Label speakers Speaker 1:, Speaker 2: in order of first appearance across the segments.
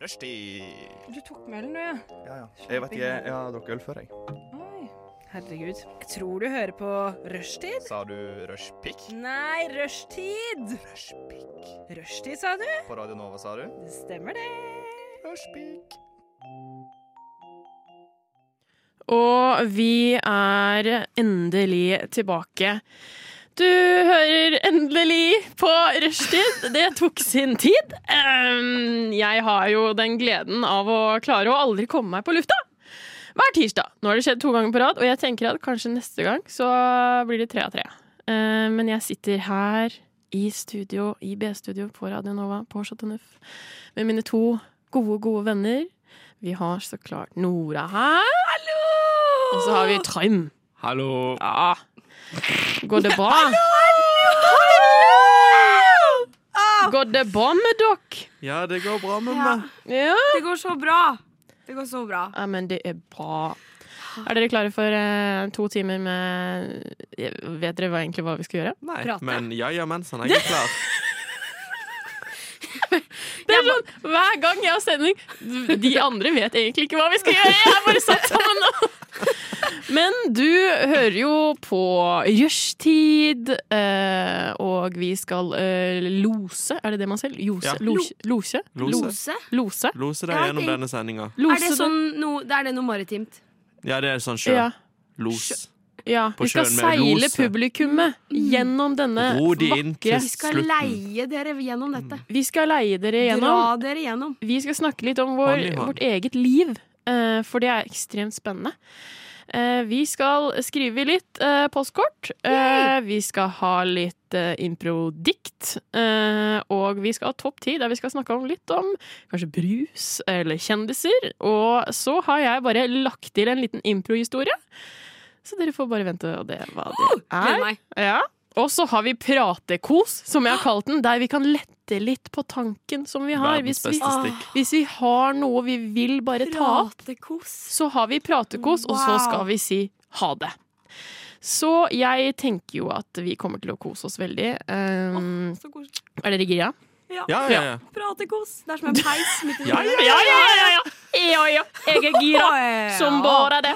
Speaker 1: Rushtid.
Speaker 2: Du tok melen, du, ja.
Speaker 3: Ja, ja.
Speaker 1: Jeg vet ikke, jeg har drukket øl før, jeg.
Speaker 2: Oi. Herregud. Jeg tror du hører på rushtid.
Speaker 1: Sa du rushpick?
Speaker 2: Nei, rushtid!
Speaker 1: Rushpick.
Speaker 2: Rushtid, sa du?
Speaker 1: På Radio Nova, sa du?
Speaker 2: Det stemmer, det.
Speaker 1: Rushpick.
Speaker 4: Og vi er endelig tilbake. Du hører endelig på rushtid. Det tok sin tid. Ehm, Jeg har jo den gleden av å klare å aldri komme meg på lufta. Hver tirsdag. Nå har det skjedd to ganger på rad, og jeg tenker at kanskje neste gang så blir det tre av tre. Ehm, Men jeg sitter her i studio, i B-studio på Radio Nova på Chateau Neuf med mine to gode, gode venner. Vi har så klart Nora her. Og så har vi Trym.
Speaker 5: Hallo.
Speaker 4: Ja. Går det bra? Går det bra med dere?
Speaker 5: Ja, det går bra med
Speaker 6: Ja.
Speaker 5: meg.
Speaker 4: Ja.
Speaker 6: Det går så bra. Det går så bra.
Speaker 4: ja, men det er bra. Er dere klare for eh, to timer med Jeg Vet dere hva, egentlig hva vi skal gjøre?
Speaker 5: Nei,
Speaker 2: Prate.
Speaker 5: men ja, ja, mensen. Jeg er klar.
Speaker 4: Det er sånn, Hver gang jeg har sending De andre vet egentlig ikke hva vi skal gjøre. Jeg er bare satt sammen nå. Men du hører jo på Rushtid, eh, og vi skal eh, lose Er det det man sier? Lose?
Speaker 5: Ja.
Speaker 4: Lose? Lose?
Speaker 5: Lose.
Speaker 6: Lose?
Speaker 4: Lose?
Speaker 5: Lose deg
Speaker 6: Ja,
Speaker 5: gjennom
Speaker 6: jeg-
Speaker 5: denne sendinga.
Speaker 4: Lose
Speaker 6: Er det sånn no, det er det noe maritimt?
Speaker 5: Ja, det er sånn sjø.
Speaker 4: Ja.
Speaker 5: Los.
Speaker 4: ja.
Speaker 5: På
Speaker 4: Vi skal
Speaker 5: sjøen med
Speaker 4: seile
Speaker 5: lose.
Speaker 4: publikummet gjennom denne
Speaker 5: Ro de inn til
Speaker 4: vakre
Speaker 6: Vi skal
Speaker 5: slutten.
Speaker 6: leie dere gjennom dette.
Speaker 4: Vi skal leie dere Mm. gjennom.
Speaker 6: Dra dere gjennom.
Speaker 4: Vi skal snakke litt om
Speaker 5: Hånd
Speaker 4: vår,
Speaker 5: i hånd.
Speaker 4: vårt eget liv, eh, for det er ekstremt spennende. Eh, vi skal skrive litt eh, postkort. Eh, vi skal ha litt eh, improdikt. Eh, og vi skal ha topp ti, der vi skal snakke om litt om kanskje brus eller kjendiser. Og så har jeg bare lagt til en liten improhistorie. Så dere får bare vente og det hva det er.
Speaker 6: Gleder meg.
Speaker 4: Ja. Og så har vi pratekos, som jeg har kalt den, der vi kan lette litt på tanken som vi har.
Speaker 5: Verdens
Speaker 4: Hvis vi,
Speaker 5: beste stikk.
Speaker 4: hvis vi har noe vi vil bare ta opp,
Speaker 6: Pratekos.
Speaker 4: så har vi pratekos, og
Speaker 6: Wow.
Speaker 4: så skal vi si ha det. Så jeg tenker jo at vi kommer til å kose oss veldig. Um,
Speaker 6: Så koselig.
Speaker 4: er dere gira?
Speaker 6: Ja.
Speaker 5: Ja, ja, ja.
Speaker 6: Pratekos. Det er som en peis midt i
Speaker 5: Ja, ja,
Speaker 4: Ja, ja, ja! ja. ja, ja. Jeg er gira.
Speaker 6: ja.
Speaker 4: Som bare det.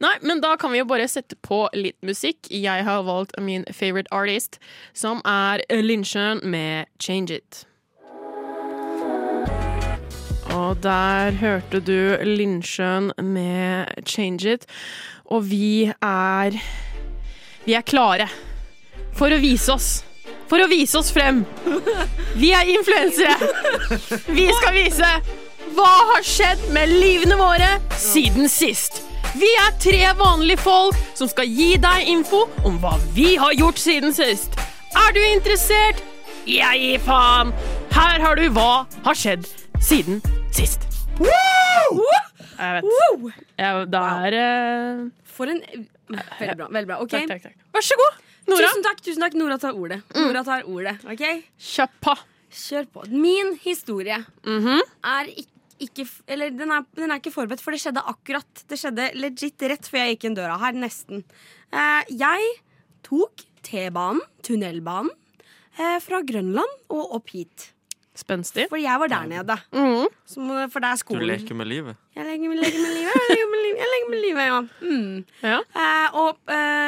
Speaker 4: Nei, men da kan vi jo bare sette på litt musikk. Jeg har valgt min favorite artist, som er Lindsjøen med 'Change It'. Og der hørte du Lindsjøen med 'Change It'. Og vi er Vi er klare for å vise oss. For å vise oss frem. Vi er influensere. Vi skal vise hva har skjedd med livene våre siden sist. Vi er tre vanlige folk som skal gi deg info om hva vi har gjort siden sist. Er du interessert? Jeg gir faen. Her har du hva har skjedd siden sist. Jeg vet. Jeg, det er eh,
Speaker 6: For en Veldig bra. veldig bra, ok?
Speaker 4: Takk, takk, takk. Vær så god, Nora. Mm.
Speaker 6: Tusen takk, tusen takk. Nora tar ordet. Nora tar ordet, ok?
Speaker 4: Kjappa.
Speaker 6: Kjør på. Min historie
Speaker 4: Mhm.
Speaker 6: er ikke, ikke f- Eller den er, den er ikke forberedt, for det skjedde akkurat. Det skjedde legit rett før jeg gikk inn døra her. Nesten. Eh, jeg tok T-banen, tunnelbanen, eh, fra Grønland og opp hit.
Speaker 4: Spenstig.
Speaker 6: For jeg var der nede.
Speaker 4: Mhm.
Speaker 6: Som, for det er
Speaker 5: Du
Speaker 6: skolen.
Speaker 5: leker med livet.
Speaker 6: Jeg legger meg legger meg livet, jeg legger meg livet, jeg legger meg livet, ja. Mm.
Speaker 4: Ja.
Speaker 6: Eh, og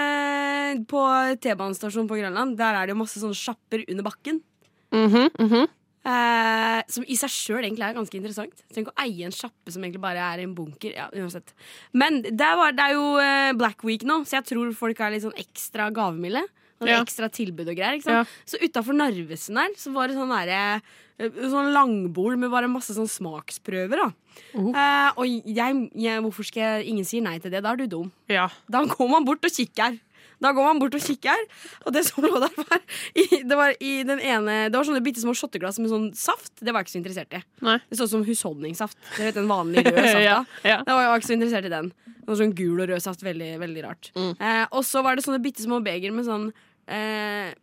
Speaker 6: eh, på T-banestasjonen på Grønland, der er det jo masse sånne sjapper under bakken.
Speaker 4: Mhm, mhm.
Speaker 6: Eh, som i seg sjøl egentlig er ganske interessant. Tenk å eie en sjappe som egentlig bare er en bunker. Ja, uansett. Men det er, bare- det er jo eh, Black Week nå, så jeg tror folk er litt sånn ekstra gavmilde. Og det er
Speaker 4: Ja.
Speaker 6: ekstra tilbud og greier. Ikke
Speaker 4: Ja.
Speaker 6: sant? Så utafor Narvesen der så var det sånn derre eh, Sånn langbord med bare masse sånn smaksprøver. da
Speaker 4: Oh.
Speaker 6: Eh, Og jeg, jeg, hvorfor skal jeg Ingen sier nei til det. Da er du dum.
Speaker 4: Ja.
Speaker 6: Da går man bort og kikker. Da går man bort og kikker, og det som lå der, var i, Det var i den ene Det var sånne bitte små shotteglass med sånn saft. Det var jeg ikke så interessert i.
Speaker 4: Nei.
Speaker 6: Det så ut som husholdningssaft. Dere vet den vanlige røde safta.
Speaker 4: ja, ja.
Speaker 6: Da var jeg ikke så interessert i den. Det var sånn gul og rød saft. Veldig, veldig rart.
Speaker 5: Mm.
Speaker 6: Eh, og så var det sånne bitte små beger med sånn eh,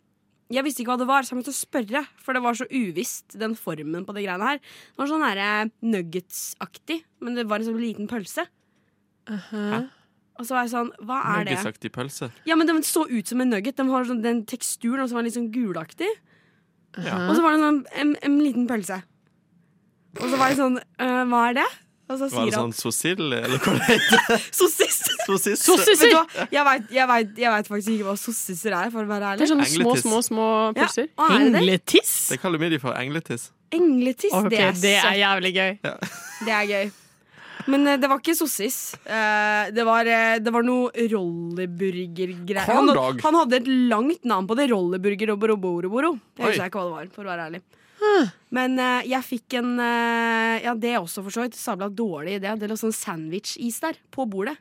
Speaker 6: Jeg visste ikke hva det var, så jeg måtte spørre, for det var så uvisst, den formen på de greiene her. Det var sånn her, eh, nuggets-aktig, men det var en sånn liten pølse.
Speaker 4: Hæ?
Speaker 6: Og så var jeg sånn Hva er det?
Speaker 5: Nuggesaktig pølse.
Speaker 6: Ja, men Den så ut som en nugget. Den har sånn, den teksturen og så var den litt sånn gulaktig.
Speaker 5: Ja.
Speaker 6: Og så var det sånn, en, en liten pølse. Og så var jeg sånn «Øh, Hva er det? Og så
Speaker 5: Var
Speaker 6: sier
Speaker 5: det
Speaker 6: han
Speaker 5: sånn sosill, eller hva det heter?
Speaker 6: Sossist!
Speaker 5: Sosis.
Speaker 4: Sossiser!
Speaker 6: Vet du hva? Jeg veit jeg vet, jeg vet faktisk ikke hva sossiser er, for å være
Speaker 4: Det
Speaker 6: ærlig.
Speaker 4: er sånne små,
Speaker 5: Engletiss.
Speaker 4: små, små pølser.
Speaker 6: Ja, og er det det?
Speaker 4: Engletiss?
Speaker 5: Det kaller vi de for engletiss.
Speaker 6: Engletiss,
Speaker 4: Ok,
Speaker 6: det er søtt.
Speaker 4: det er jævlig gøy.
Speaker 6: Det er gøy. Men eh, det var ikke sossis. Eh, det, var, eh, det var noe rolleburgergreier. Han,
Speaker 5: Korndag.
Speaker 6: han hadde et langt navn på det. Rolleburger og boroboroboro. Jeg
Speaker 5: Oi.
Speaker 6: husker ikke hva det var, for å være ærlig.
Speaker 4: Ah.
Speaker 6: Men eh, jeg fikk en eh, Ja, det også, for så vidt. Sabla dårlig idé. Det lå sånn sandwich-is der, på bordet.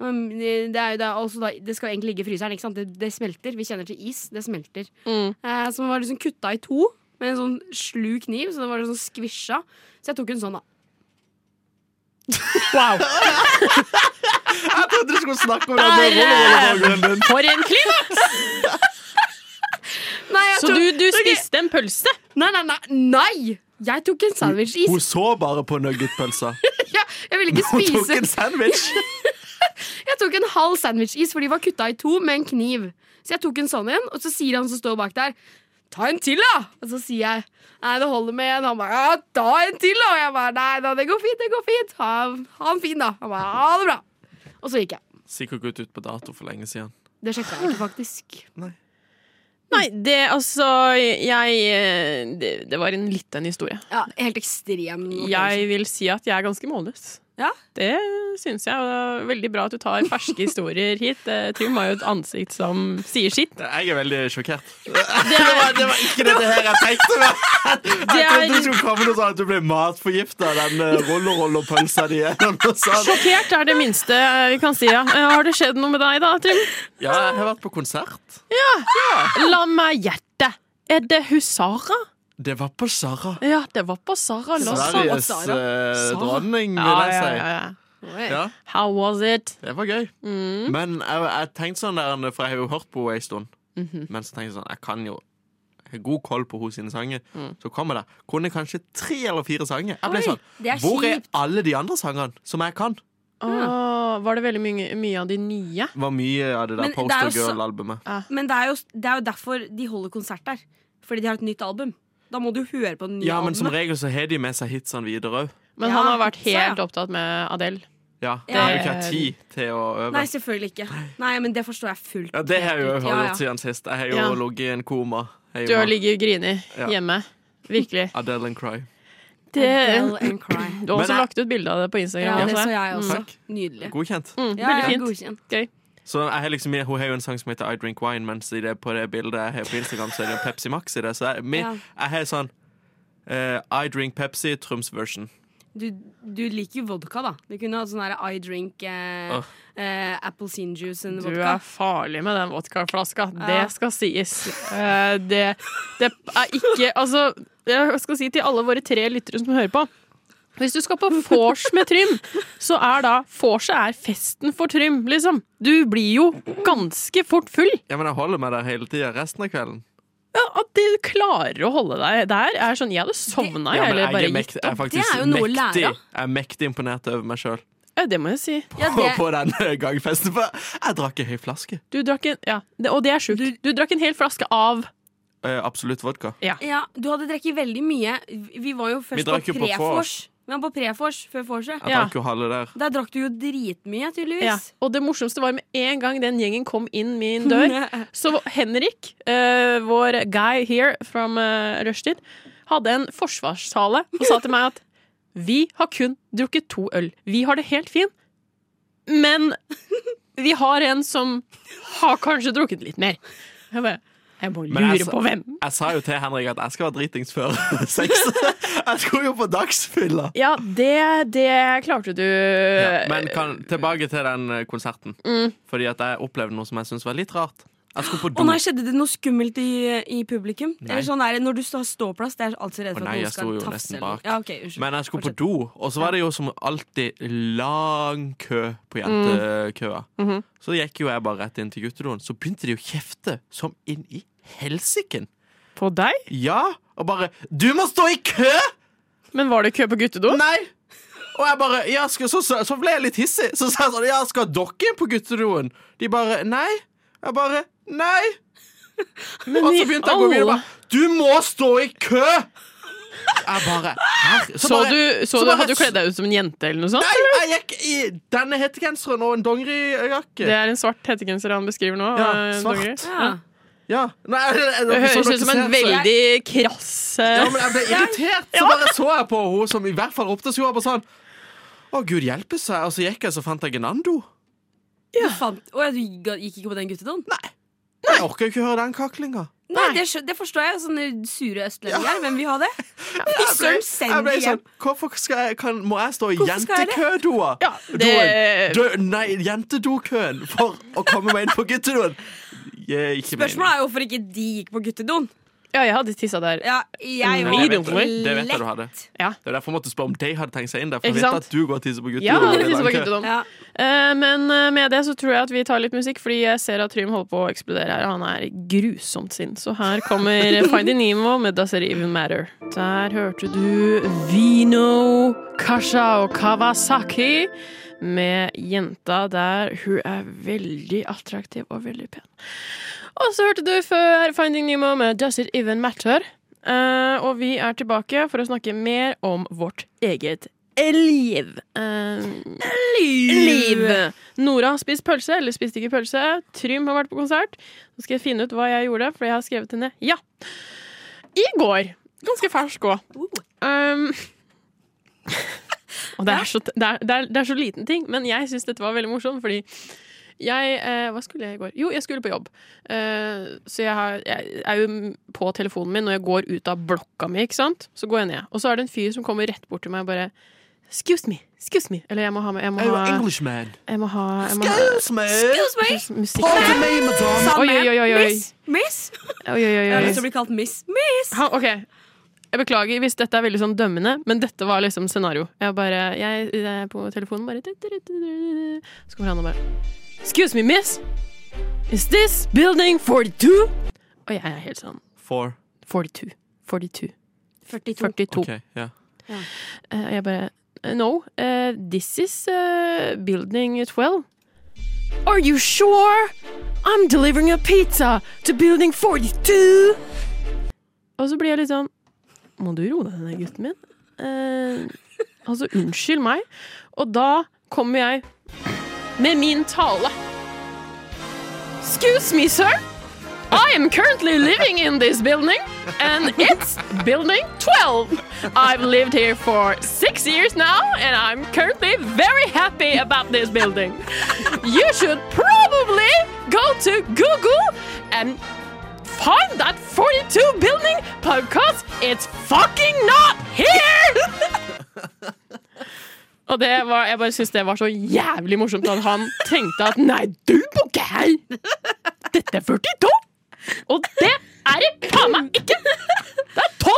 Speaker 6: Um, Det, er, jo- det, er også da, det skal jo egentlig ligge i fryseren, ikke sant? Det, det smelter. Vi kjenner til is. Det smelter.
Speaker 4: Mm.
Speaker 6: Eh, som var liksom kutta i to med en sånn slu kniv, så det var sånn skvisja. Så jeg tok en sånn, da.
Speaker 4: Wow.
Speaker 5: Jeg trodde du skulle snakke om
Speaker 4: Der, For en klimaks!
Speaker 6: Nei, jeg
Speaker 4: Så
Speaker 6: tok,
Speaker 4: du, du spiste en pølse?
Speaker 6: nei, nei, nei, nei! Jeg tok en sandwich-is.
Speaker 5: Hun så bare på nuggetpølsa.
Speaker 6: Ja, jeg ville ikke
Speaker 5: Hun tok
Speaker 6: spise
Speaker 5: en sandwich.
Speaker 6: Jeg tok en halv sandwich-is, for de var kutta i to med en kniv. Så jeg tok en sånn en, og så sier han som står bak der, ta en til, da! Og så sier jeg, nei, det holder med en. Han bare, ja, ta en til, da! Og jeg bare, nei, da, det går fint, det går fint. Ha, ha en fin, da. Han bare, ha det bra. Og så gikk jeg.
Speaker 5: Sikkert gått ut på dato for lenge siden.
Speaker 6: Det sjekka jeg ikke, faktisk.
Speaker 4: Nei, det altså Jeg eh, Det, det var en liten historie.
Speaker 6: Ja, Helt ekstrem. opplevelse.
Speaker 4: Jeg vil si at jeg er ganske målløs.
Speaker 6: Ja.
Speaker 4: Det syns jeg. Og det er veldig bra at du tar ferske historier hit. Eh, Trym har jo et ansikt som sier sitt.
Speaker 5: Jeg er veldig sjokkert.
Speaker 4: Det er,
Speaker 5: Det var ikke dette her jeg tenkte meg! Jeg
Speaker 4: er-
Speaker 5: trodde det skulle komme noe sånn at du ble matforgifta av den eh, rollerollerpølsa di. eller noe sånt.
Speaker 4: sjokkert er det minste eh, vi kan si, ja. Eh, Har det skjedd noe med deg da, Trym?
Speaker 5: Ja, jeg har vært på konsert.
Speaker 4: La meg gjette. Er det Husara?
Speaker 5: Det var på Sara.
Speaker 4: Ja, det var på Sara Lassan.
Speaker 5: Sveriges
Speaker 6: Sara.
Speaker 5: eh,
Speaker 4: Sara.
Speaker 5: dronning,
Speaker 4: Ja,
Speaker 5: vil
Speaker 4: ja,
Speaker 5: jeg si.
Speaker 4: ja, ja.
Speaker 6: Oi.
Speaker 5: Ja,
Speaker 4: How was it?
Speaker 5: det var gøy.
Speaker 6: Mm.
Speaker 5: Men jeg, jeg tenkte sånn der, for jeg har jo hørt på henne en stund.
Speaker 6: Mhm.
Speaker 5: Men så tenkte jeg sånn, jeg kan jo jeg har god koll på hennes sine sanger. Så kommer det kunne kanskje tre eller fire sanger. Jeg
Speaker 6: Mm.
Speaker 5: ble
Speaker 6: Oi,
Speaker 5: sånn,
Speaker 6: det er
Speaker 5: Hvor er
Speaker 6: kjipt.
Speaker 5: alle de andre sangene som jeg kan?
Speaker 4: Åh, var det veldig mye, mye av de nye?
Speaker 5: Det var mye av det der
Speaker 6: Men det er
Speaker 5: Poster
Speaker 6: jo så-
Speaker 5: Girl-albumet.
Speaker 6: Men det er, jo, det er jo derfor de holder konsert der. Fordi de har et nytt album. Da må du høre på den nye
Speaker 5: Ja, men som
Speaker 6: albumet.
Speaker 5: regel så har de med seg hitsene videre òg.
Speaker 4: Men
Speaker 6: Ja,
Speaker 4: han har vært
Speaker 6: så ja.
Speaker 4: helt opptatt med Adele.
Speaker 5: Ja, det
Speaker 6: Ja.
Speaker 5: har jo ikke hatt tid til å øve.
Speaker 6: Nei, selvfølgelig ikke. Nei, men det forstår jeg fullt.
Speaker 5: Ja, det har jeg jo
Speaker 6: ut.
Speaker 5: har
Speaker 6: Ja, ja.
Speaker 5: gjort siden sist. Jeg har jo
Speaker 4: Ja.
Speaker 5: ligget i en koma. Jeg
Speaker 4: Du
Speaker 5: var
Speaker 4: har ligget og grinet
Speaker 5: Ja.
Speaker 4: hjemme. Virkelig.
Speaker 5: Adele and Cry.
Speaker 4: Det,
Speaker 6: Adele and Cry.
Speaker 4: du har også
Speaker 5: Men jeg-
Speaker 4: lagt ut bilde av det på Instagram.
Speaker 6: Ja,
Speaker 4: også,
Speaker 6: det så
Speaker 4: jeg.
Speaker 6: jeg også.
Speaker 5: Takk.
Speaker 6: Nydelig.
Speaker 5: Godkjent.
Speaker 4: Mm,
Speaker 6: Ja,
Speaker 4: veldig
Speaker 6: ja,
Speaker 4: fint.
Speaker 6: godkjent.
Speaker 4: Gøy.
Speaker 5: Så jeg har liksom, hun har jo en sang som heter I Drink Wine, mens i det, på det bildet jeg har på Instagram, så er det jo Pepsi Max i det. Så jeg, mi-
Speaker 6: Ja.
Speaker 5: jeg har sånn eh, I Drink Pepsi, Trums version.
Speaker 6: Du, du liker jo vodka, da. Du kunne hatt sånn her I drink eh,
Speaker 5: Åh.
Speaker 6: eh, appelsin juice and
Speaker 4: Du
Speaker 6: vodka.
Speaker 4: er farlig med den vodkaflaska.
Speaker 6: Ja.
Speaker 4: Det skal sies. Eh, det, det er ikke Altså, jeg skal si til alle våre tre lyttere som hører på. Hvis du skal på vors med Trym, så er da vorset er festen for Trym, liksom. Du blir jo ganske fort full.
Speaker 5: Ja, men jeg holder meg der hele tida resten av kvelden.
Speaker 4: Ja, at du klarer å holde deg der, er sånn Jeg hadde sovna,
Speaker 5: Ja,
Speaker 4: jeg,
Speaker 5: men
Speaker 4: eller
Speaker 5: jeg,
Speaker 4: bare
Speaker 5: er
Speaker 4: gitt
Speaker 5: mekt, jeg er faktisk
Speaker 6: Det er jo noe å lære
Speaker 5: mektig,
Speaker 6: av.
Speaker 5: jeg er mektig imponert over meg sjøl
Speaker 4: Ja, det må jeg si.
Speaker 6: Ja, det,
Speaker 5: på den gangfesten. For jeg drakk ei hel flaske.
Speaker 4: Du drakk en Ja, det, og det er sjukt. Du, drakk en hel flaske av
Speaker 5: Eh, absolutt vodka.
Speaker 6: ja, du hadde drukket veldig mye. Vi- Vi var jo først
Speaker 5: drakk
Speaker 6: på
Speaker 5: jo på
Speaker 6: pre-vors.
Speaker 5: vors.
Speaker 6: Vi var på pre-vors før vorset.
Speaker 5: Jeg
Speaker 4: Ja.
Speaker 5: drakk jo halve der.
Speaker 6: Der drakk du jo dritmye,
Speaker 4: ja.
Speaker 6: tydeligvis.
Speaker 4: Og det morsomste var med en gang den gjengen kom inn min dør, så Henrik, eh, vår guy here from uh, Rushtid, hadde en forsvarstale og sa til meg at vi har kun drukket to øl. Vi har det helt fint, men vi har en som har kanskje drukket litt mer. Jeg bare jeg må
Speaker 5: Men altså-
Speaker 4: lure
Speaker 5: jeg sa-
Speaker 4: på hvem.
Speaker 5: Jeg sa jo til Henrik at jeg skal være dritings før seks. Jeg skulle jo på dagsfylla!
Speaker 4: Ja, det, det klarte du. eh,
Speaker 5: Ja, men
Speaker 6: eh,
Speaker 5: kan, tilbake til den eh, konserten. Fordi at jeg opplevde noe som jeg syntes var litt rart. Jeg skulle på
Speaker 6: Mm. Å
Speaker 5: do.
Speaker 6: nei, skjedde det noe skummelt i, i publikum?
Speaker 5: Nei.
Speaker 6: Eller sånn er det når du har ståplass, det er jeg alltid redd
Speaker 5: Å
Speaker 6: for
Speaker 5: nei,
Speaker 6: at
Speaker 5: jeg
Speaker 6: noen skal
Speaker 5: sto jo
Speaker 6: tafse.
Speaker 5: nesten
Speaker 6: eller noe.
Speaker 5: bak.
Speaker 6: Ja, ok, unnskyld.
Speaker 5: Men jeg skulle på do, og så var det jo som alltid lang kø på jentekøa.
Speaker 6: Mm. Mhm.
Speaker 5: Så gikk jo jeg bare rett inn til guttedoen. Så begynte de å kjefte som inn i helsiken.
Speaker 4: På deg?
Speaker 5: Ja! Og bare 'Du må stå i kø!'
Speaker 4: Men var det kø på guttedo?
Speaker 5: Nei! Og jeg bare, ja, skal, så, så, så ble jeg litt hissig. Så sa jeg sånn, ja, skal dere inn på guttedoen? De bare, nei. Jeg bare, nei. og så begynte jeg å gå videre. og bare, Du må stå i kø! Jeg bare Her!
Speaker 4: Så
Speaker 5: bare-
Speaker 4: du, så
Speaker 5: så
Speaker 4: du
Speaker 5: bare-
Speaker 4: hadde du kledd deg ut som en jente eller noe sånt?
Speaker 5: Nei, jeg gikk i denne hettegenseren og en dongerijakke.
Speaker 4: Det er en svart hettegenser han beskriver nå.
Speaker 5: Ja,
Speaker 4: eh,
Speaker 5: svart.
Speaker 4: Dongeri.
Speaker 6: Ja.
Speaker 5: Ja. Nei, jeg- jeg-
Speaker 4: Det høres
Speaker 5: dere
Speaker 4: ut som en
Speaker 5: ser, så-
Speaker 4: veldig krass eh,
Speaker 5: Ja, men jeg ble irritert, så bare så jeg på henne som i hvert fall ropte, så hun var bare sånn Å, gud hjelpe seg. Og så gikk jeg, så fant jeg Genando.
Speaker 6: Du fant Å ja, du ga- gikk ikke på den guttedoen? Nei,
Speaker 5: Jeg orker jo ikke høre den kaklinga.
Speaker 6: det, skjø- det forstår jeg. Sånne sure østlendinger. Hvem vil ha det? Fy
Speaker 5: Jeg ble-
Speaker 6: søren,
Speaker 5: jeg
Speaker 6: send
Speaker 5: ble
Speaker 6: det hjem.
Speaker 5: sånn Hvorfor skal jeg, kan, må jeg stå i
Speaker 6: Hvorfor skal jeg det?
Speaker 5: jentekødoa?
Speaker 4: Ja,
Speaker 5: Doen.
Speaker 4: det-
Speaker 5: Dø- Nei, jentedokøen for å komme meg inn på guttedoen. Jeg- ikke
Speaker 6: Spørsmålet er jo hvorfor ikke de gikk på guttedoen.
Speaker 4: Ja, jeg hadde tissa der.
Speaker 6: Ja, jeg
Speaker 4: Nei,
Speaker 5: mening.
Speaker 6: òg.
Speaker 5: Mm, Det vet jeg- det vet jeg du hadde.
Speaker 4: Ja.
Speaker 5: Det er derfor jeg måtte spørre om de hadde tenkt seg inn der. For jeg
Speaker 4: Ikke
Speaker 5: vet
Speaker 4: sant?
Speaker 5: at du går og tisser på guttedoen.
Speaker 4: Ja,
Speaker 5: og det er
Speaker 4: det
Speaker 5: lang
Speaker 4: var
Speaker 5: kø.
Speaker 4: guttedom.
Speaker 6: Ja.
Speaker 4: Eh, Men eh, med det så tror jeg at vi tar litt musikk, fordi jeg ser at Trym holder på å eksplodere her. Han er grusomt sint. Så her kommer Finding Nemo med Does It Even Matter. Der hørte du Vino, Kasha og Kawasaki med jenta der. Hun er veldig attraktiv og veldig pen. Og så hørte du før Finding Nemo med Does It Even Matter. Eh, og vi er tilbake for å snakke mer om vårt eget liv. Eh, liv. Nora har spist pølse, eller spiste ikke pølse. Trym har vært på konsert. Nå skal jeg finne ut hva jeg gjorde, for jeg har skrevet henne ja. I går. Ganske fersk òg.
Speaker 6: Uh,
Speaker 4: Um, og det er, så, det, er, det, er, det er så liten ting, men jeg syns dette var veldig morsomt, fordi jeg eh, Hva skulle jeg i går? Jo, jeg skulle på jobb. Eh, så jeg, har, jeg er jo på telefonen min når jeg går ut av blokka mi, ikke sant. Så går jeg ned. Og så er det en fyr som kommer rett bort til meg og bare Excuse me, excuse me. Eller jeg må ha med Jeg må
Speaker 5: Jeg er jo
Speaker 4: ha,
Speaker 5: Englishman.
Speaker 4: jeg må ha, jeg må ha
Speaker 5: Excuse me.
Speaker 6: Excuse me.
Speaker 4: musikk
Speaker 5: Pardon me, madame.
Speaker 6: Sa
Speaker 4: Oi,
Speaker 6: ma'am.
Speaker 4: oi, oi, oi.
Speaker 6: Miss. Miss.
Speaker 4: Oi, oi, oi,
Speaker 6: Jeg har
Speaker 4: oi.
Speaker 6: lyst til å bli kalt Miss. Miss.
Speaker 4: Han, ok, jeg beklager hvis dette er veldig sånn dømmende, men dette var liksom scenario. Jeg bare, jeg, jeg er på telefonen bare Så kommer han og bare Excuse me, miss. Is this building 42? Og jeg er helt sånn
Speaker 5: For.
Speaker 4: 42. 42.
Speaker 6: 42.
Speaker 4: 42.
Speaker 5: Ok, ja.
Speaker 4: Eh, Og jeg bare No, eh, this is eh, building 12. Are you sure? I'm delivering a pizza to building 42. Og så blir jeg litt sånn Må du roe deg ned, gutten min? Eh, altså, unnskyld meg. Og da kommer jeg med min tale. Excuse me, sir. I am currently living in this building, and it's building 12. I've lived here for six years now, and I'm currently very happy about this building. You should probably go to Google and find that 42 building because it's fucking not here! Og det var, jeg bare synes det var så jævlig morsomt at han tenkte at nei, du bor ikke her! Dette er 42! Og det er det faen meg ikke! Det er 12!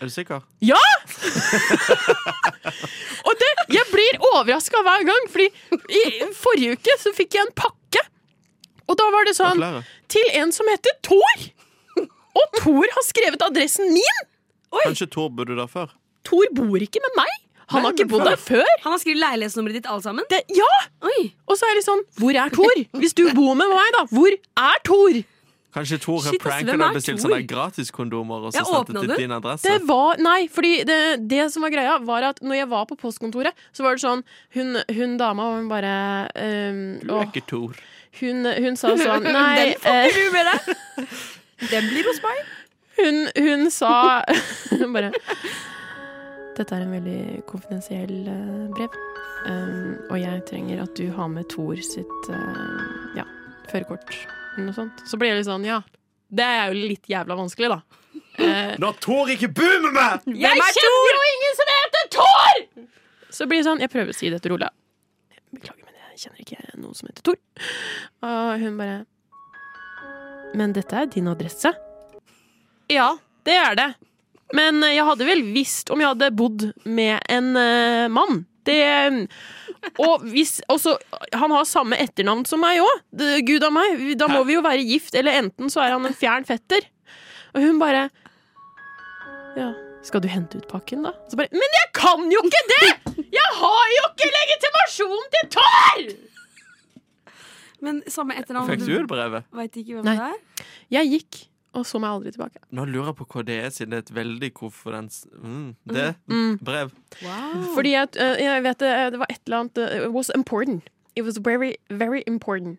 Speaker 5: Er du sikker?
Speaker 4: Ja! Og det, jeg blir overraska hver gang, fordi i forrige uke så fikk jeg en pakke. Og da var det sånn
Speaker 5: Gratulerer.
Speaker 4: Til en som heter Thor! Og Thor har skrevet adressen min!
Speaker 5: Kanskje Tor bodde der før?
Speaker 4: Thor bor ikke med meg! Han har
Speaker 5: Nei,
Speaker 4: ikke
Speaker 5: men
Speaker 4: bodd der før!
Speaker 6: Han har skrevet leilighetsnummeret ditt, alle sammen?
Speaker 4: Det, ja!
Speaker 6: Oi.
Speaker 4: Og så er det sånn Hvor er Thor? Hvis du bor med meg, da, hvor er Thor?
Speaker 5: Kanskje Tor har
Speaker 6: Shit, ass,
Speaker 5: pranket
Speaker 6: hvem
Speaker 5: deg
Speaker 6: er
Speaker 5: og bestilt
Speaker 6: Tor?
Speaker 5: sånne gratiskondomer og så
Speaker 6: Ja,
Speaker 5: sendt det
Speaker 6: åpna
Speaker 5: til
Speaker 6: du?
Speaker 5: din adresse?
Speaker 4: Det var, nei, fordi det, det som var greia, var at når jeg var på postkontoret, så var det sånn Hun, hun dama, hun bare ehm,
Speaker 5: Du er
Speaker 4: åh,
Speaker 5: ikke Tor.
Speaker 4: hun, hun sa sånn Nei,
Speaker 6: Den fucker
Speaker 4: eh,
Speaker 6: du med deg. Den blir hos meg.
Speaker 4: hun, hun sa hun bare Dette er en veldig konfidensiell eh, brev, ehm, og jeg trenger at du har med Thor sitt eh, ja, førerkort eller noe sånt. Så ble jeg litt sånn Ja, det er jo litt jævla vanskelig, da. Eh,
Speaker 5: Når Tor ikke bor med meg!
Speaker 4: Jeg kjenner jo ingen som heter Thor! Så blir det sånn, jeg prøver å si det til Ola. Beklager, men jeg kjenner ikke noen som heter Thor. Og hun bare Men dette er din adresse? Ja, det er det. Men eh, jeg hadde vel visst om jeg hadde bodd med en eh, mann. Det Og hvis også, Han har samme etternavn som meg òg. Gud a meg. Da må vi jo være gift, eller enten så er han en fjern fetter. Og hun bare ja. Skal du hente ut pakken, da? Så bare, Men jeg kan jo ikke det! Jeg har jo ikke legitimasjon til Tor!
Speaker 6: Men samme etternavn.
Speaker 5: Fikk du ut brevet?
Speaker 6: Veit ikke hvem
Speaker 4: Nei.
Speaker 6: det er?
Speaker 4: Jeg gikk og så må jeg aldri tilbake.
Speaker 5: Nå lurer jeg på hva det er, siden det er et veldig konfidens... Mm, det? Brev.
Speaker 4: Fordi jeg, eh, jeg vet det, det var et eller annet eh, It was important. It was very, very important.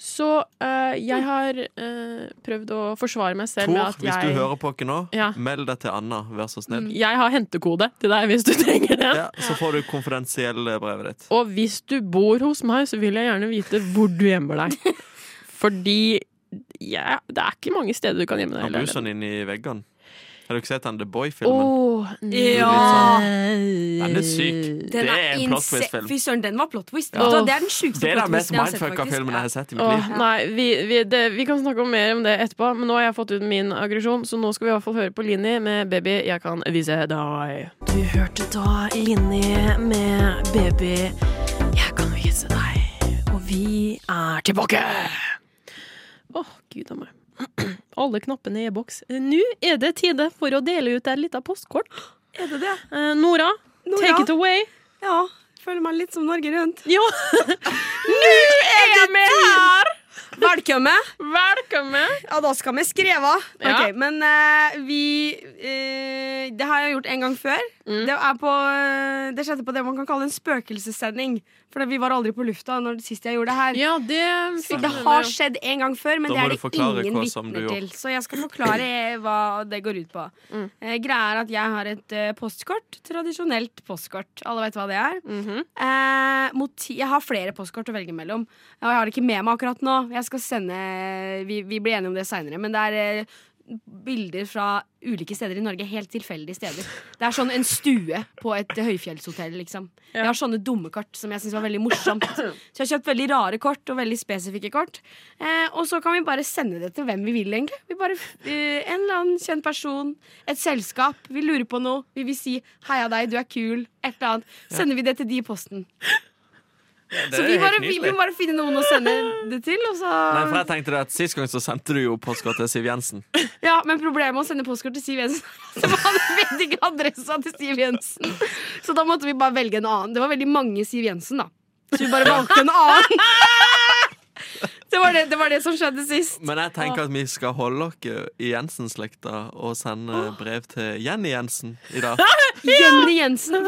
Speaker 4: Så eh, jeg har eh, prøvd å forsvare meg selv med
Speaker 5: Tor,
Speaker 4: at
Speaker 5: hvis du
Speaker 4: jeg
Speaker 5: hører på oss nå,
Speaker 4: Ja.
Speaker 5: meld deg til Anna, vær så
Speaker 6: Mm.
Speaker 5: snill.
Speaker 4: Jeg har hentekode til deg hvis du trenger den.
Speaker 5: Ja, så får du konfidensielle brevet ditt.
Speaker 4: Og hvis du bor hos meg, så vil jeg gjerne vite hvor du gjemmer deg. Fordi ja, det er ikke mange steder du kan gjemme deg.
Speaker 5: Han
Speaker 4: i leiligheten.
Speaker 5: buser den inn i veggene. Har du ikke sett den The Boy-filmen?
Speaker 4: Åh, nei.
Speaker 6: Ja.
Speaker 5: sånn- Den er syk.
Speaker 6: Den
Speaker 5: det er en plot
Speaker 6: inse-
Speaker 5: twist-film.
Speaker 6: Fy søren, den var plot twist.
Speaker 4: Ja.
Speaker 6: Vet du hva, Det er den sjukeste
Speaker 5: Det er
Speaker 6: plot
Speaker 5: den mest
Speaker 6: twisten jeg har sett,
Speaker 5: mindfucka
Speaker 6: faktisk.
Speaker 5: filmen jeg har sett i mitt
Speaker 4: Åh,
Speaker 5: liv.
Speaker 4: nei, vi, vi, det, vi kan snakke om mer om det etterpå, men nå har jeg fått ut min aggresjon, så nå skal vi i hvert fall høre på Linni med 'Baby, jeg kan vise deg'. Du hørte da Linni med 'Baby, jeg kan vise deg'. Og vi er tilbake! Åh, gud a meg. Alle knappene er i boks. Nå er det tide for å dele ut et lite postkort.
Speaker 6: Ja. Er det det?
Speaker 4: Eh, Nora,
Speaker 6: Nora?
Speaker 4: take it away.
Speaker 6: Ja. Føler meg litt som Norge Rundt.
Speaker 4: Jo. Nå er jeg med her!
Speaker 6: Velkommen!
Speaker 4: Velkommen.
Speaker 6: Ja, da skal vi skreve. Ok,
Speaker 4: Ja.
Speaker 6: Men eh, vi eh, Det har jeg gjort en gang før.
Speaker 4: Mm.
Speaker 6: Det, er på, eh, det skjedde på det man kan kalle en spøkelsessending. For vi var aldri på lufta når det sist jeg gjorde det her.
Speaker 4: Ja, det
Speaker 6: Så det har skjedd en gang før, men
Speaker 5: Da
Speaker 6: det
Speaker 5: må
Speaker 6: er
Speaker 5: du
Speaker 6: det
Speaker 5: forklare
Speaker 6: ingen
Speaker 5: hva som du
Speaker 6: vitner til.
Speaker 5: gjorde.
Speaker 6: Så jeg skal forklare hva det går ut på. Eh, greia er at jeg har et eh, postkort. Tradisjonelt postkort. Alle vet hva det er.
Speaker 4: Mhm.
Speaker 6: eh, moti jeg har flere postkort å velge mellom. Og jeg har det ikke med meg akkurat nå. Jeg skal sende Vi, vi blir enige om det seinere, men det er eh, Bilder fra ulike steder i Norge. Helt tilfeldige steder. Det er sånn en stue på et eh, høyfjellshotell, liksom. Jeg har sånne dumme kort som jeg syns var veldig morsomt. Så jeg har kjøpt veldig rare kort og veldig spesifikke kort. Eh, og så kan vi bare sende det til hvem vi vil, egentlig. Vi bare, eh, en eller annen kjent person, et selskap. Vi lurer på noe. Vi vil si 'heia deg, du er kul', et eller annet. Sender vi det til de i posten. Så vi, bare, vi, vi må bare finne noen å sende det til, og
Speaker 5: Nei, for
Speaker 6: så
Speaker 5: jeg tenkte det at Sist gang så sendte du jo postkort til Siv Jensen.
Speaker 6: Ja, men problemet med å sende postkort til Siv Jensen Så han vet ikke adressa til Siv Jensen. Så da måtte vi bare velge en annen. Det var veldig mange Siv Jensen, da. Så vi bare valgte en annen. Det var det, det, var det som skjedde sist.
Speaker 5: Men jeg tenker at vi skal holde dere i Jensen-slekta og sende brev til Jenny Jensen i dag.
Speaker 6: Jenny Jensen.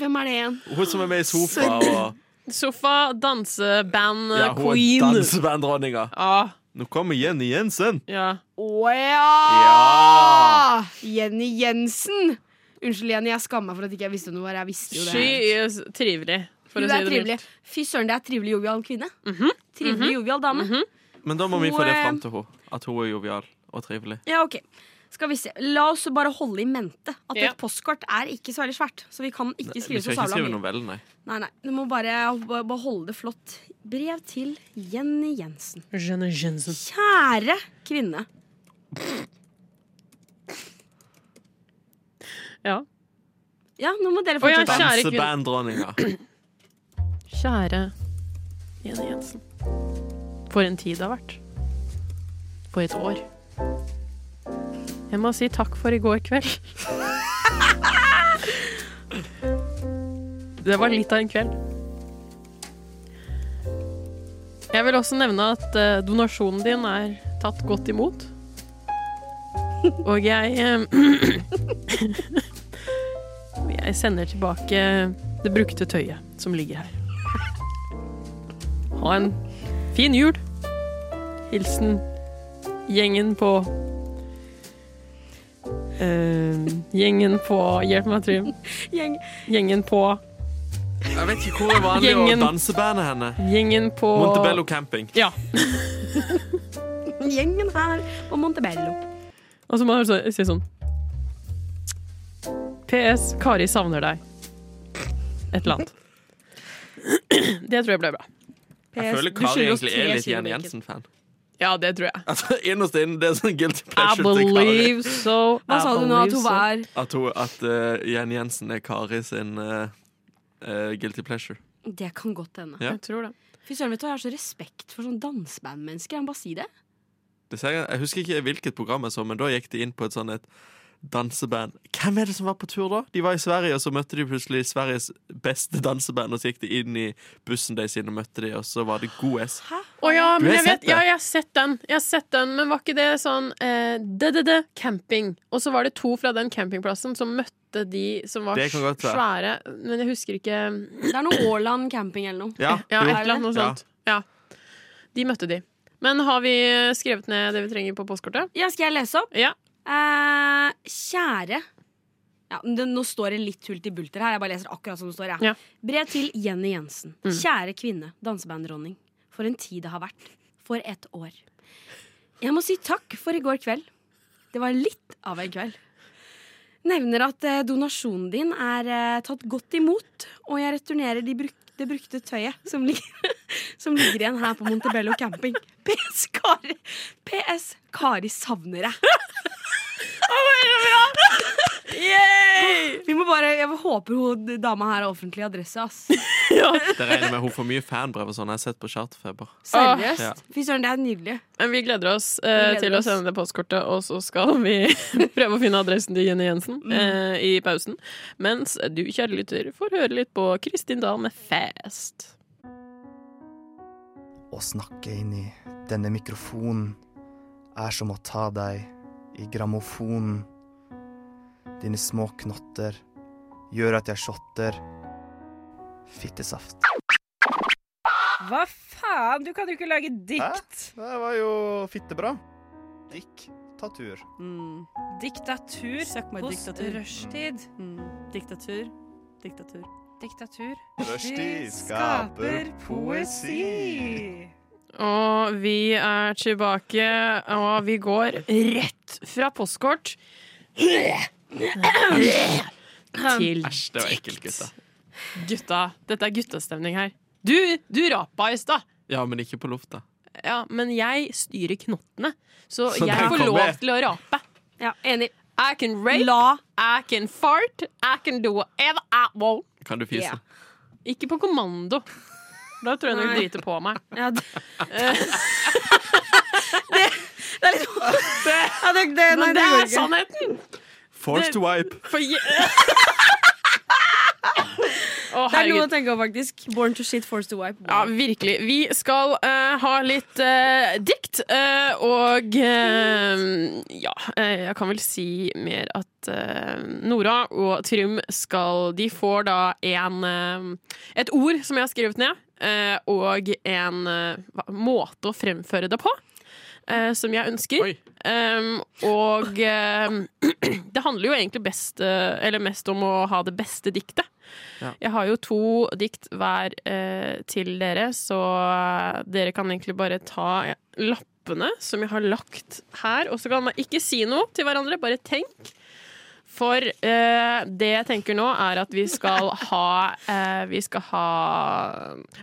Speaker 6: Hvem er det igjen?
Speaker 5: Hun som er med i Sofa og
Speaker 4: Sofa, danseband,
Speaker 5: ja, hun er
Speaker 4: queen.
Speaker 5: dansebanddronninga.
Speaker 4: Ja,
Speaker 5: Nå kommer Jenny Jensen.
Speaker 4: ja.
Speaker 6: Å ja! Jenny Jensen. Unnskyld, Jenny, jeg skammer meg for at ikke jeg visste noe. her. Jeg visste jo
Speaker 4: Sky
Speaker 6: det.
Speaker 4: is trivelig, for
Speaker 6: Hun er
Speaker 4: å si det
Speaker 6: trivelig.
Speaker 4: mildt. Mhm.
Speaker 6: Fy søren, det er trivelig jovial kvinne. Trivelig jovial dame.
Speaker 5: Men da må vi få
Speaker 6: Hun,
Speaker 5: det
Speaker 6: eh,
Speaker 5: fram til henne. At hun er jovial og trivelig.
Speaker 6: Ja, ok. Skal vi se. La oss bare holde i mente at
Speaker 4: Ja.
Speaker 6: et postkort er ikke så veldig svært. Så vi kan ikke
Speaker 5: Vi
Speaker 6: skrive så
Speaker 5: skal ikke
Speaker 6: savla
Speaker 5: skrive
Speaker 6: mye.
Speaker 5: novellen, nei.
Speaker 6: Nei, nei. Du må bare bare holde det flott. Brev til Jenny Jensen.
Speaker 4: Jenny Jensen.
Speaker 6: Kjære kvinne.
Speaker 4: Ja.
Speaker 6: Ja, nå må dere
Speaker 4: Å ja,
Speaker 6: fortsette.
Speaker 4: Kjære kvinne.
Speaker 5: Dansebanddronninga.
Speaker 4: Kjære Jenny Jensen. For en tid det har vært. For et år. Jeg må si takk for i går kveld. Det var litt av en kveld. Jeg vil også nevne at eh, donasjonen din er tatt godt imot. Og jeg eh, Og jeg sender tilbake det brukte tøyet som ligger her. Ha en fin jul. Hilsen gjengen på eh, Gjengen på Hjelp meg, Trym.
Speaker 6: Gjeng.
Speaker 4: Gjengen på
Speaker 5: Jeg vet ikke hvor er vanlig å
Speaker 4: Gjengen.
Speaker 5: dansebande henne.
Speaker 4: Gjengen på
Speaker 5: Montebello camping.
Speaker 4: Ja.
Speaker 6: Gjengen her på Montebello.
Speaker 4: Og så må man så- si sånn PS. Kari savner deg. Et eller annet. Det tror jeg ble bra.
Speaker 5: Jeg føler
Speaker 6: du
Speaker 5: Kari
Speaker 6: skylder oss
Speaker 5: egentlig
Speaker 6: tre
Speaker 5: er litt
Speaker 6: kilo
Speaker 5: Jenny
Speaker 6: bacon.
Speaker 5: Jensen-fan.
Speaker 4: Ja, det tror jeg.
Speaker 5: Altså, Innerst inne det er sånn guilty
Speaker 4: I
Speaker 5: pleasure til Kari.
Speaker 4: believe so.
Speaker 6: Hva
Speaker 4: I
Speaker 6: sa du nå at
Speaker 4: believe
Speaker 6: hun
Speaker 4: so.
Speaker 6: var?
Speaker 5: At, hun, at eh, Jenny Jensen er Kari sin eh, eh, guilty pleasure.
Speaker 6: Det kan godt hende.
Speaker 5: Ja.
Speaker 4: Jeg tror det.
Speaker 6: Fy søren, vet du, hva, Jeg har så respekt for sånn dansebandmennesker. Jeg må bare si det.
Speaker 5: Det ser jeg, jeg husker ikke hvilket program jeg så, men da gikk de inn på et sånn et danseband. Hvem er det som var på tur da? De var i Sverige, og så møtte de plutselig Sveriges beste danseband, og så gikk de inn i bussen deres inn og møtte de, og så var det god S.
Speaker 4: Å ja,
Speaker 5: Du
Speaker 4: men jeg
Speaker 5: har sett
Speaker 4: vet,
Speaker 5: det?
Speaker 4: ja, jeg har sett den. Jeg har sett den, Men var ikke det sånn eh, DDD camping? Og så var det to fra den campingplassen som møtte de som var
Speaker 5: Det kan godt være.
Speaker 4: svære Men jeg husker ikke
Speaker 6: Det er noe Åland camping eller noe.
Speaker 5: Ja,
Speaker 4: Ja,
Speaker 5: jo.
Speaker 4: et eller annet noe
Speaker 5: Ja.
Speaker 4: sånt. Ja. De møtte de. Men har vi skrevet ned det vi trenger på postkortet?
Speaker 6: Ja, skal jeg lese opp?
Speaker 4: Ja.
Speaker 6: Eh, kjære ja, men det, Nå står det litt hult i bulter her. Jeg bare leser akkurat som det står. Jeg.
Speaker 4: Ja.
Speaker 6: Brev til Jenny Jensen. Kjære kvinne, dansebanddronning. For en tid det har vært. For et år. Jeg må si takk for i går kveld. Det var litt av en kveld. Nevner at eh, donasjonen din er eh, tatt godt imot, og jeg returnerer de bruk det brukte tøyet som ligger, som ligger igjen her på Montebello camping. PS Kari, PS Kari savner deg. Vi må bare, Jeg håper hun dama her har offentlig adresse. ass
Speaker 5: Det regner jeg med hun får mye fanbrev og sånn. Jeg har sett på Charterfeber.
Speaker 6: Seriøst.
Speaker 5: Ja.
Speaker 6: Fy søren, det er nydelig.
Speaker 4: Men Vi gleder oss eh,
Speaker 6: Vi gleder
Speaker 4: til å
Speaker 6: oss.
Speaker 4: sende det postkortet, og så skal vi prøve å finne adressen til Jenny Jensen
Speaker 6: Mm.
Speaker 4: eh, i pausen. Mens du, kjære lytter, får høre litt på Kristin Dahl med Fast.
Speaker 1: Å snakke inn i denne mikrofonen er som å ta deg i grammofonen. Dine små knotter gjør at jeg shotter. Fittesaft.
Speaker 2: Hva faen? Du kan jo ikke lage dikt.
Speaker 1: Det var jo fittebra. Diktatur.
Speaker 3: Mm.
Speaker 2: Diktatur
Speaker 3: Søkk meg
Speaker 2: hos
Speaker 3: diktatur.
Speaker 2: rushtid.
Speaker 3: Mm. Diktatur. Diktatur.
Speaker 2: Diktatur.
Speaker 1: Rushtid skaper poesi.
Speaker 4: Og vi er tilbake, og vi går rett fra postkort til
Speaker 5: Æsj, det var ekkelt, gutta.
Speaker 4: gutta. Dette er guttastemning her. Du, du rapa i stad!
Speaker 5: Ja, men ikke på lufta.
Speaker 4: Ja, men jeg styrer knottene, så,
Speaker 5: Så
Speaker 4: jeg
Speaker 5: der
Speaker 4: får
Speaker 5: kom
Speaker 4: lov
Speaker 5: jeg.
Speaker 4: til å rape.
Speaker 6: Ja, Enig.
Speaker 4: I can rape,
Speaker 6: La
Speaker 4: I can fart, I can do whatever I want.
Speaker 5: Kan du fise?
Speaker 6: Ja.
Speaker 4: Ikke på kommando. Da tror jeg hun vil
Speaker 6: Nei.
Speaker 4: drite på meg.
Speaker 6: ja, det, det er litt ja, det, det, nei,
Speaker 4: Men
Speaker 6: det
Speaker 4: det
Speaker 6: går
Speaker 4: er
Speaker 6: ikke.
Speaker 4: sannheten!
Speaker 5: Forced to wipe.
Speaker 4: For je... Å,
Speaker 6: Det er noe
Speaker 4: herregud.
Speaker 6: å tenke på, faktisk. Born to shit, forced to wipe.
Speaker 4: Ja, virkelig. Vi skal eh, ha litt eh, dikt, eh, og eh, ja, eh, jeg kan vel si mer at eh, Nora og Trym skal De får da en eh, et ord som jeg har skrevet ned, eh, og en eh, hva- måte å fremføre det på. eh, som jeg ønsker.
Speaker 5: Oi.
Speaker 4: Um, og um, det handler jo egentlig best, eh, eller mest om å ha det beste diktet.
Speaker 5: Ja.
Speaker 4: Jeg har jo to dikt hver eh, til dere, så dere kan egentlig bare ta lappene som jeg har lagt her. Og så kan man ikke si noe til hverandre, bare tenk. For eh, det jeg tenker nå, er at vi skal ha eh, Vi skal ha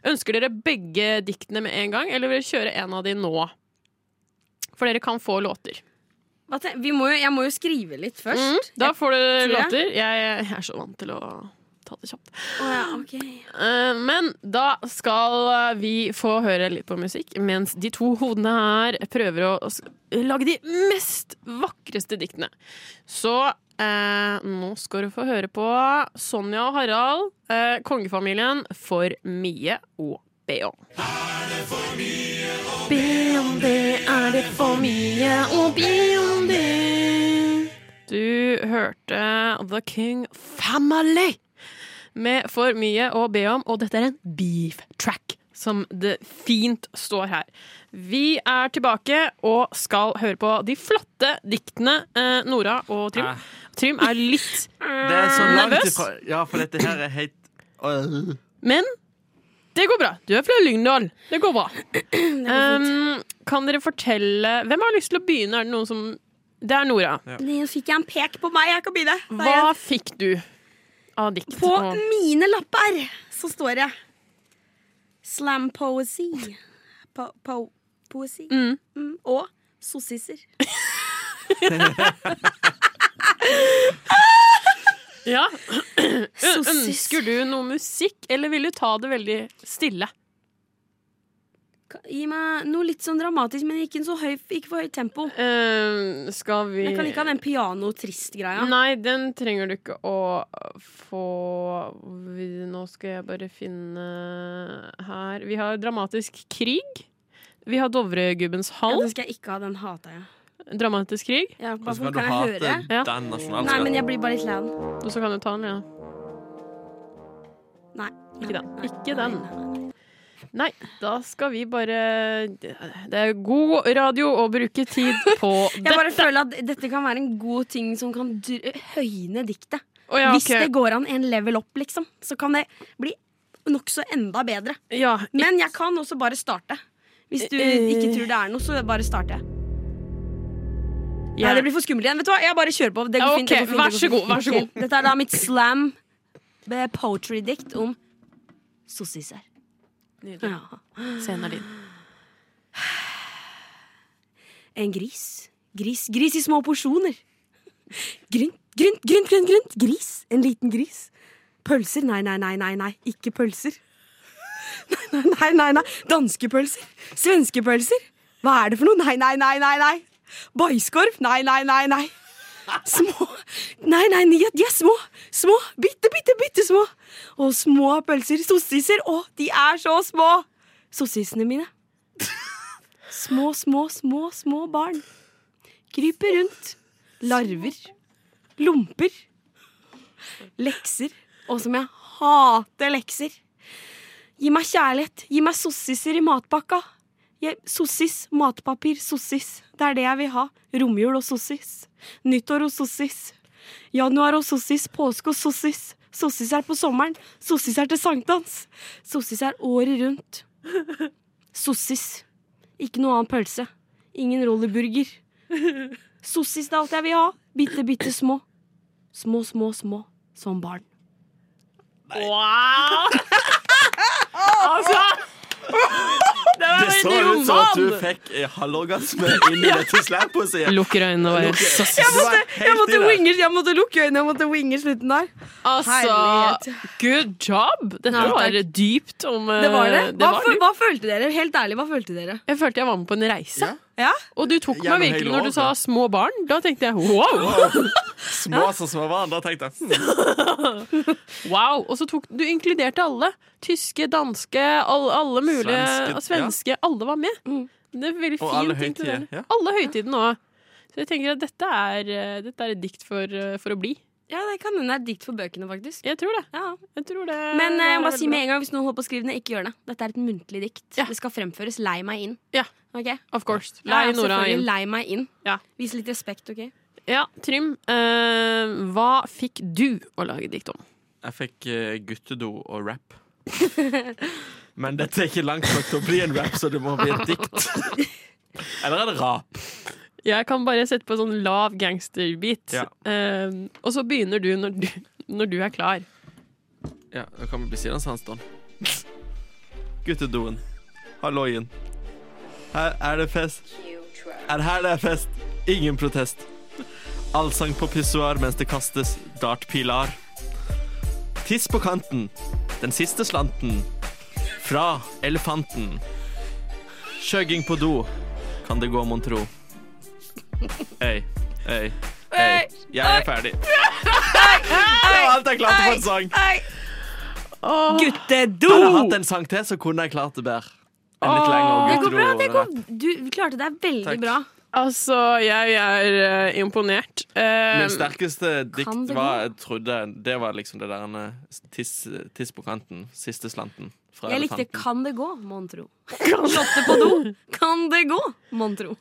Speaker 4: Ønsker dere begge diktene med en gang, eller vil dere kjøre en av de nå? For dere kan få låter. Mm,
Speaker 6: Hva ten- Vi må jo, jeg må jo skrive litt først.
Speaker 4: Da får dere
Speaker 6: tror jeg.
Speaker 4: låter. Jeg, jeg er så vant til å ta det kjapt.
Speaker 6: Å, ja, ok.
Speaker 4: Eh, Men da skal vi få høre litt på musikk, mens de to hodene her prøver å s- lage de mest vakreste diktene. Så eh, nå skal du få høre på Sonja og Harald, eh, kongefamilien for Mie og Beon. Beon, det er det for mye, og Beon, det Du hørte The King Family med for mye å be om, og dette er en beef track, som det fint står her. Vi er tilbake og skal høre på de flotte diktene eh, Nora og Trym.
Speaker 5: Eh.
Speaker 4: Trym er litt
Speaker 5: Det er så langt
Speaker 4: Nervøs?
Speaker 5: ifra Ja, for dette her er helt Øh.
Speaker 4: Men det går bra. Du er fra Lyngdal. Det går bra. Um, kan dere fortelle Hvem har lyst til å begynne? Er det noen som Det er Nora.
Speaker 6: Nå fikk jeg en pek på meg. Jeg kan begynne. Da er jeg-
Speaker 4: Hva fikk du av dikt?
Speaker 6: På
Speaker 4: og-
Speaker 6: mine lapper så står det slam poesi. Po po poesi.
Speaker 4: Mm.
Speaker 6: Mm, og sossiser.
Speaker 4: Ja.
Speaker 6: Sossis.
Speaker 4: Ønsker du noe musikk, eller vil du ta det veldig stille?
Speaker 6: Ka- Gi meg noe litt sånn dramatisk, men ikke, en så høy, ikke for høyt tempo.
Speaker 4: Eh, skal vi
Speaker 6: Jeg kan ikke ha den piano-trist-greia.
Speaker 4: Nei, den trenger du ikke å få Vi- Nå skal jeg bare finne her Vi har dramatisk krig. Vi har Dovregubbens
Speaker 6: Ja,
Speaker 4: hall.
Speaker 6: den skal jeg ikke ha. Den hata jeg.
Speaker 4: Dramatisk krig.
Speaker 6: Ja, bare
Speaker 5: Og så
Speaker 6: for
Speaker 5: kan du
Speaker 6: kan jeg
Speaker 5: hate
Speaker 6: høre.
Speaker 4: Ja.
Speaker 5: den
Speaker 6: Nei, men
Speaker 5: nasjonalskatten.
Speaker 6: jeg blir bare litt lei av den.
Speaker 4: Og så kan du ta den, ja.
Speaker 6: Nei.
Speaker 4: Ikke den.
Speaker 6: Nei, nei,
Speaker 4: Ikke den.
Speaker 6: nei, nei, nei.
Speaker 4: Nei, da skal vi bare Det er god radio å bruke tid på
Speaker 6: Jeg
Speaker 4: dette.
Speaker 6: bare føler at dette kan være en god ting som kan dr- høyne diktet.
Speaker 4: Å, ja,
Speaker 6: Hvis
Speaker 4: ok.
Speaker 6: det går an en level opp, liksom, så kan det bli nokså enda bedre.
Speaker 4: ja,
Speaker 6: Men jeg kan også bare starte. Hvis du ikke tror det er noe, så bare starter jeg. Nei, det blir for skummelt igjen. Vet du hva, Jeg bare kjører på. Det går
Speaker 4: Ja,
Speaker 6: fint. Det
Speaker 4: ok.
Speaker 6: går fint, det
Speaker 4: Vær
Speaker 6: går
Speaker 4: så god,
Speaker 6: fint.
Speaker 4: vær så god.
Speaker 6: Ok, Dette er da mitt slam eh, poetry-dikt om sossiser.
Speaker 3: Nydelig.
Speaker 6: Ja.
Speaker 4: Scenen er din.
Speaker 6: En gris. Gris, gris i små porsjoner. Grynt, grynt, grynt, grynt, grynt. Gris. En liten gris. Pølser. Nei, nei, nei, nei, nei. Ikke pølser. Nei, nei, nei, nei, nei. Danske pølser. Svenske pølser. Hva er det for noe? Nei, nei, nei, nei, nei. Bajskorv. Nei, nei, nei, nei. Små Nei, nei, de er- de er små. Små. Bitte, bitte, bitte små. Og små pølser. Sossiser. Å, de er så små. Sossisene mine. Små, små, små, små barn. Kryper rundt. Larver. Lomper. Lekser. Og som jeg hater lekser. Gi meg kjærlighet. Gi meg sossiser i matpakka. Jeg, sossis, matpapir, sossis. Det er det jeg vil ha. Romjul og sossis. Nyttår og sossis. Januar og sossis, påske og sossis. Sossis er på sommeren. Sossis er til sankthans. Sossis er året rundt. Sossis. Ikke noe annen pølse. Ingen rollerburger. Sossis det er alt jeg vil ha. Bitte, bitte små. Små, små, små. Som barn.
Speaker 4: Wow! altså
Speaker 5: Det så ut som at du fikk eh, halvorgasme inni dette slampoesiet.
Speaker 4: Lukker øynene og bare
Speaker 5: Jeg måtte,
Speaker 6: jeg måtte lukke øynene, jeg måtte winge slutten der.
Speaker 4: Altså,
Speaker 6: Herlighet.
Speaker 4: good job! Dette
Speaker 6: Ja,
Speaker 4: var
Speaker 6: takk.
Speaker 4: dypt om eh,
Speaker 6: Det var det.
Speaker 4: det
Speaker 6: Hva,
Speaker 4: var
Speaker 6: fø-
Speaker 4: dypt.
Speaker 6: hva følte dere? Helt ærlig, hva følte dere?
Speaker 4: Jeg følte jeg var med på en reise.
Speaker 5: Ja.
Speaker 6: Ja?
Speaker 4: Og du tok meg
Speaker 5: Gjennom hele
Speaker 4: virkelig når du
Speaker 5: året.
Speaker 4: sa 'små barn'. Da tenkte jeg wow!
Speaker 5: Små som små barn. Da tenkte jeg hm,
Speaker 4: wow. Og så tok du inkluderte alle. Tyske, danske, alle, alle mulige
Speaker 5: Svenske,
Speaker 4: svenske. svenske alle var med.
Speaker 6: Mm.
Speaker 4: Det er veldig
Speaker 5: Og
Speaker 4: fint.
Speaker 5: alle høytider,
Speaker 4: inkluderende.
Speaker 5: ja.
Speaker 4: Alle høytidene òg. Så jeg tenker at dette er, eh, dette er et dikt for, eh, for å bli.
Speaker 6: Ja, det kan hende det er dikt for bøkene, faktisk.
Speaker 4: Jeg tror det.
Speaker 6: Ja.
Speaker 4: Jeg tror det
Speaker 6: Men
Speaker 4: det
Speaker 6: eh,
Speaker 4: er
Speaker 6: jeg må bare
Speaker 4: veldig
Speaker 6: si
Speaker 4: bra.
Speaker 6: med en gang, hvis noen holder på å skrive det, ikke gjør det. Dette er et muntlig dikt.
Speaker 4: Ja.
Speaker 6: Det skal fremføres. Lei meg inn.
Speaker 4: Ja.
Speaker 6: Ok?
Speaker 4: Of course.
Speaker 6: Ja,
Speaker 4: Lei
Speaker 6: ja,
Speaker 4: Nora
Speaker 6: selvfølgelig,
Speaker 4: inn.
Speaker 6: Lei meg inn.
Speaker 4: Ja.
Speaker 6: Vis litt respekt, OK?
Speaker 4: Ja, Trym, eh, hva fikk du å lage dikt om?
Speaker 5: Jeg fikk eh, guttedo og rap. Men dette er ikke langt nok til å bli en rap, så det må bli et dikt. Eller er det rap?
Speaker 4: Jeg kan bare sette på sånn lav gangsterbeat,
Speaker 5: Ja.
Speaker 4: eh, og så begynner du når du, når du er klar.
Speaker 5: Ja, da kan vi bli siden sandstånd. Guttedoen. Halloien. Her er det fest. Er her det er fest. Ingen protest. Allsang på pissoar mens det kastes dartpilar. Tiss på kanten. Den siste slanten. Fra elefanten. Kjøgging på do. Kan det gå, mon tro? Øy, øy, øy. Jeg er ferdig. Det var alt jeg klarte på en sang.
Speaker 6: Guttedo!
Speaker 5: Hadde jeg hatt en sang til, så kunne jeg klart det bedre. En litt lengre
Speaker 6: Det går bra. Det
Speaker 5: guttedo.
Speaker 6: går, du klarte deg veldig
Speaker 5: Takk.
Speaker 6: bra.
Speaker 4: Altså, jeg er eh, imponert. Eh,
Speaker 5: Min sterkeste
Speaker 6: Kan
Speaker 5: dikt
Speaker 6: det
Speaker 5: var
Speaker 6: gå?
Speaker 5: Jeg trodde Det var liksom det der eh, tiss, tiss på kanten. Siste slanten. Fra
Speaker 6: Jeg likte
Speaker 5: elefanten.
Speaker 6: 'Kan det gå', mon tro. Slåtte på do. Kan det gå, mon tro.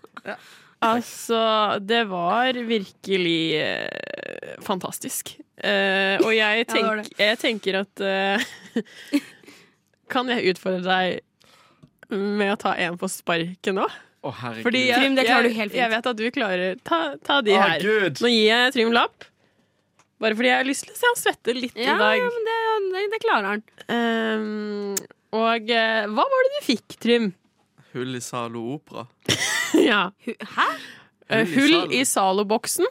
Speaker 4: altså, det var virkelig eh, fantastisk. Eh, og jeg,
Speaker 6: det var
Speaker 4: tenk, jeg tenker at eh, Kan jeg utfordre deg med å ta en på sparket nå?
Speaker 5: Å, herregud.
Speaker 4: Fordi jeg,
Speaker 6: Trym, det klarer du
Speaker 4: jeg,
Speaker 6: helt fint.
Speaker 4: Jeg vet at du klarer Ta, ta de
Speaker 5: Å,
Speaker 4: her.
Speaker 5: Gud.
Speaker 4: Nå gir jeg Trym lapp. Bare fordi jeg har lyst til å se han svette litt
Speaker 6: Ja,
Speaker 4: i
Speaker 6: ja,
Speaker 4: dag.
Speaker 6: men det, det, det klarer han.
Speaker 4: Ehm, og eh, hva var det du fikk, Trym?
Speaker 5: Hull i Zalo Opera.
Speaker 4: ja.
Speaker 6: Hu- Hæ?
Speaker 4: Eh, Hull i Zalo-boksen,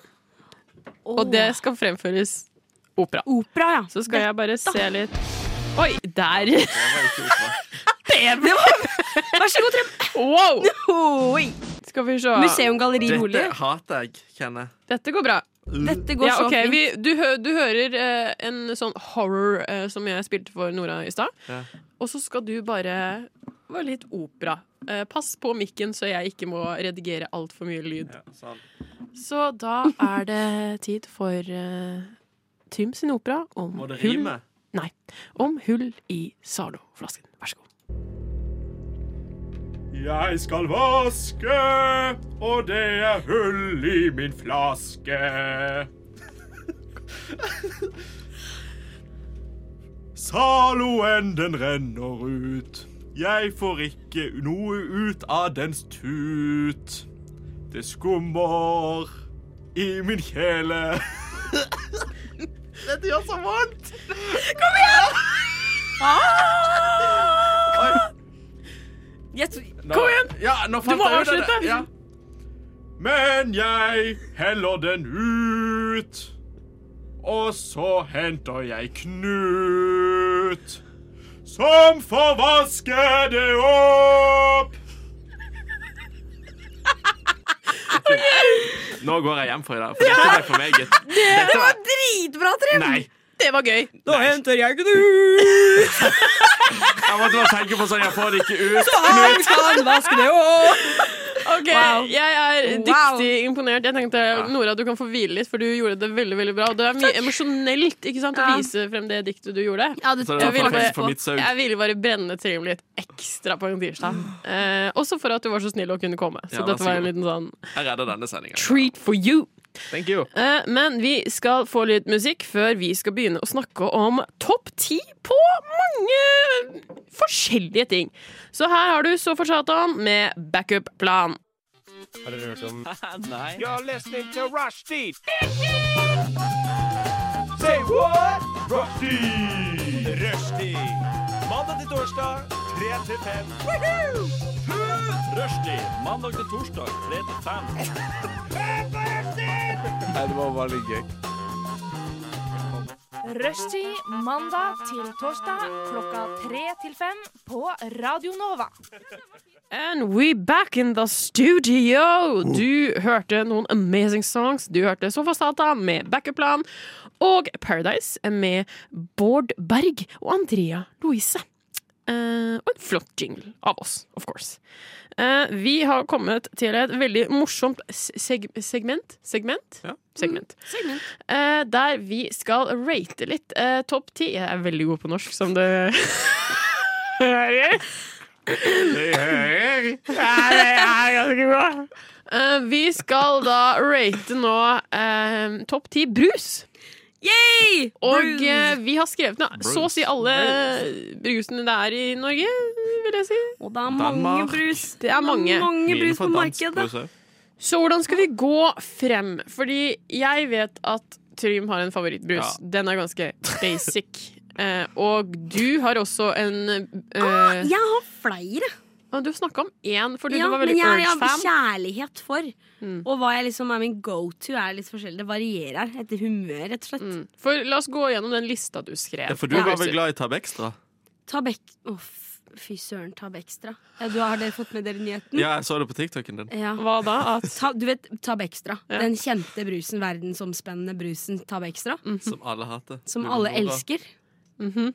Speaker 6: Åh.
Speaker 4: og det skal fremføres opera.
Speaker 6: Opera, ja.
Speaker 4: Så skal jeg bare se litt Oi, der!
Speaker 5: Det var ikke opera.
Speaker 6: Det var, vær så god, Trym.
Speaker 4: Wow!
Speaker 6: Oi.
Speaker 4: Skal vi se.
Speaker 6: Museum Galleri Nordli.
Speaker 5: Dette hater jeg, kjenner
Speaker 4: Dette går bra.
Speaker 6: Dette går
Speaker 4: Ja,
Speaker 6: så
Speaker 4: ok,
Speaker 6: fint.
Speaker 4: vi, du, hø, du hører eh, en sånn horror eh, som jeg spilte for Nora i stad.
Speaker 5: Ja.
Speaker 4: Og så skal du bare være litt opera. Eh, pass på mikken så jeg ikke må redigere altfor mye lyd.
Speaker 5: Ja, sånn.
Speaker 4: Så da er det tid for eh, Trym sin opera om
Speaker 5: Må det
Speaker 4: hull,
Speaker 5: rime?
Speaker 4: om hull i Zalo-flasken. Vær så god.
Speaker 5: Jeg skal vaske, og det er hull i min flaske. Zaloen, den renner ut. Jeg får ikke noe ut av dens tut. Det skummer i min kjele. Dette gjør så vondt.
Speaker 6: Ah!
Speaker 5: Kom igjen! Oi.
Speaker 6: Jeg tr-
Speaker 5: Kom igjen! du må avslutte! Men jeg heller den ut, og så henter jeg Knut, som får vaske det opp. Nå går jeg hjem for i dag, for dette ble for meget. Dette var
Speaker 6: Dritbra, Trym.
Speaker 5: Nei.
Speaker 4: Det var gøy.
Speaker 5: Da henter jeg Knut. Jeg måtte bare tenke på sånn, jeg får det ikke ut.
Speaker 2: Han kan vaske det òg!
Speaker 4: Ok, Jeg er
Speaker 6: Wow.
Speaker 4: dyktig imponert. Jeg tenkte, Nora, du kan få hvile litt, for du gjorde det veldig veldig bra. Og det er mye emosjonelt ikke sant, å
Speaker 6: Ja.
Speaker 4: vise frem det diktet du gjorde.
Speaker 6: Ja, du,
Speaker 5: Så det
Speaker 4: Jeg
Speaker 5: var
Speaker 4: ville bare,
Speaker 5: faktisk for mitt saug.
Speaker 4: jeg ville bare brenne Trym litt ekstra på en tirsdag. Eh, også for at du var så snill og kunne komme. Så
Speaker 5: Ja, vær
Speaker 4: dette
Speaker 5: så
Speaker 4: var en
Speaker 5: god.
Speaker 4: liten sånn
Speaker 5: Jeg redder denne sendingen.
Speaker 4: treat for you.
Speaker 5: Thank you.
Speaker 4: Eh, men vi skal få litt musikk før vi skal begynne å snakke om topp ti på mange forskjellige ting. Så her har du så for satan med backup-plan.
Speaker 7: You're listening to Rushdie. Say what? Rushdie. Rushdie. Mandag til torsdag, 3 til 5. Rushdie. Mandag til torsdag, 3 til 5.
Speaker 8: Rushtid mandag til torsdag klokka tre til fem på Radio Nova.
Speaker 4: And we back in the studio! Du hørte noen amazing songs. Du hørte Sofastata med backup-plan, og Paradise med Bård Berg og Andrea Louise. Eh, og en flott jingle av oss, of course. Eh, vi har kommet til et veldig morsomt seg segment. Segment?
Speaker 5: Ja.
Speaker 4: segment. Eh, der vi skal rate litt eh, topp ti. Jeg er veldig god på norsk, som du hører. Eh, vi skal da rate nå eh, topp ti brus.
Speaker 6: Yay!
Speaker 4: Og
Speaker 6: Brus.
Speaker 4: eh, vi har skrevet ned så å si alle brusene det er i Norge, vil jeg si.
Speaker 6: Og det er mange
Speaker 5: Danmark.
Speaker 6: brus.
Speaker 4: Det er mange.
Speaker 6: mange brus på markedet.
Speaker 4: Så hvordan skal vi gå frem? Fordi jeg vet at Trym har en favorittbrus.
Speaker 5: Ja.
Speaker 4: Den er ganske basic. Eh, og du har også en eh,
Speaker 6: Jeg har flere.
Speaker 4: og Du snakka om én, fordi
Speaker 6: Ah, Ja,
Speaker 4: du var
Speaker 6: men
Speaker 4: veldig
Speaker 6: jeg har
Speaker 4: Urge-fan.
Speaker 6: kjærlighet for.
Speaker 4: Mm.
Speaker 6: Og hva jeg liksom er min go to, er litt forskjellig. Det varierer etter humør, rett og slett.
Speaker 4: Mm. For La oss gå gjennom den lista du skrev.
Speaker 5: Ja, for du
Speaker 4: Ja.
Speaker 5: var vel glad i Tab Extra?
Speaker 6: Tabek... Å, f- fy søren, Tabextra. Ja, du har dere fått med dere nyheten?
Speaker 5: Ja, jeg så det på TikToken din.
Speaker 6: Ja.
Speaker 4: Hva da? At
Speaker 6: Ta, du vet Tabextra.
Speaker 4: Ja.
Speaker 6: Den kjente brusen, verdensomspennende brusen Tabextra.
Speaker 4: Mm.
Speaker 5: Som alle hater.
Speaker 6: Mm. Som
Speaker 5: Du
Speaker 6: alle
Speaker 5: må da-
Speaker 6: elsker.
Speaker 4: Mhm.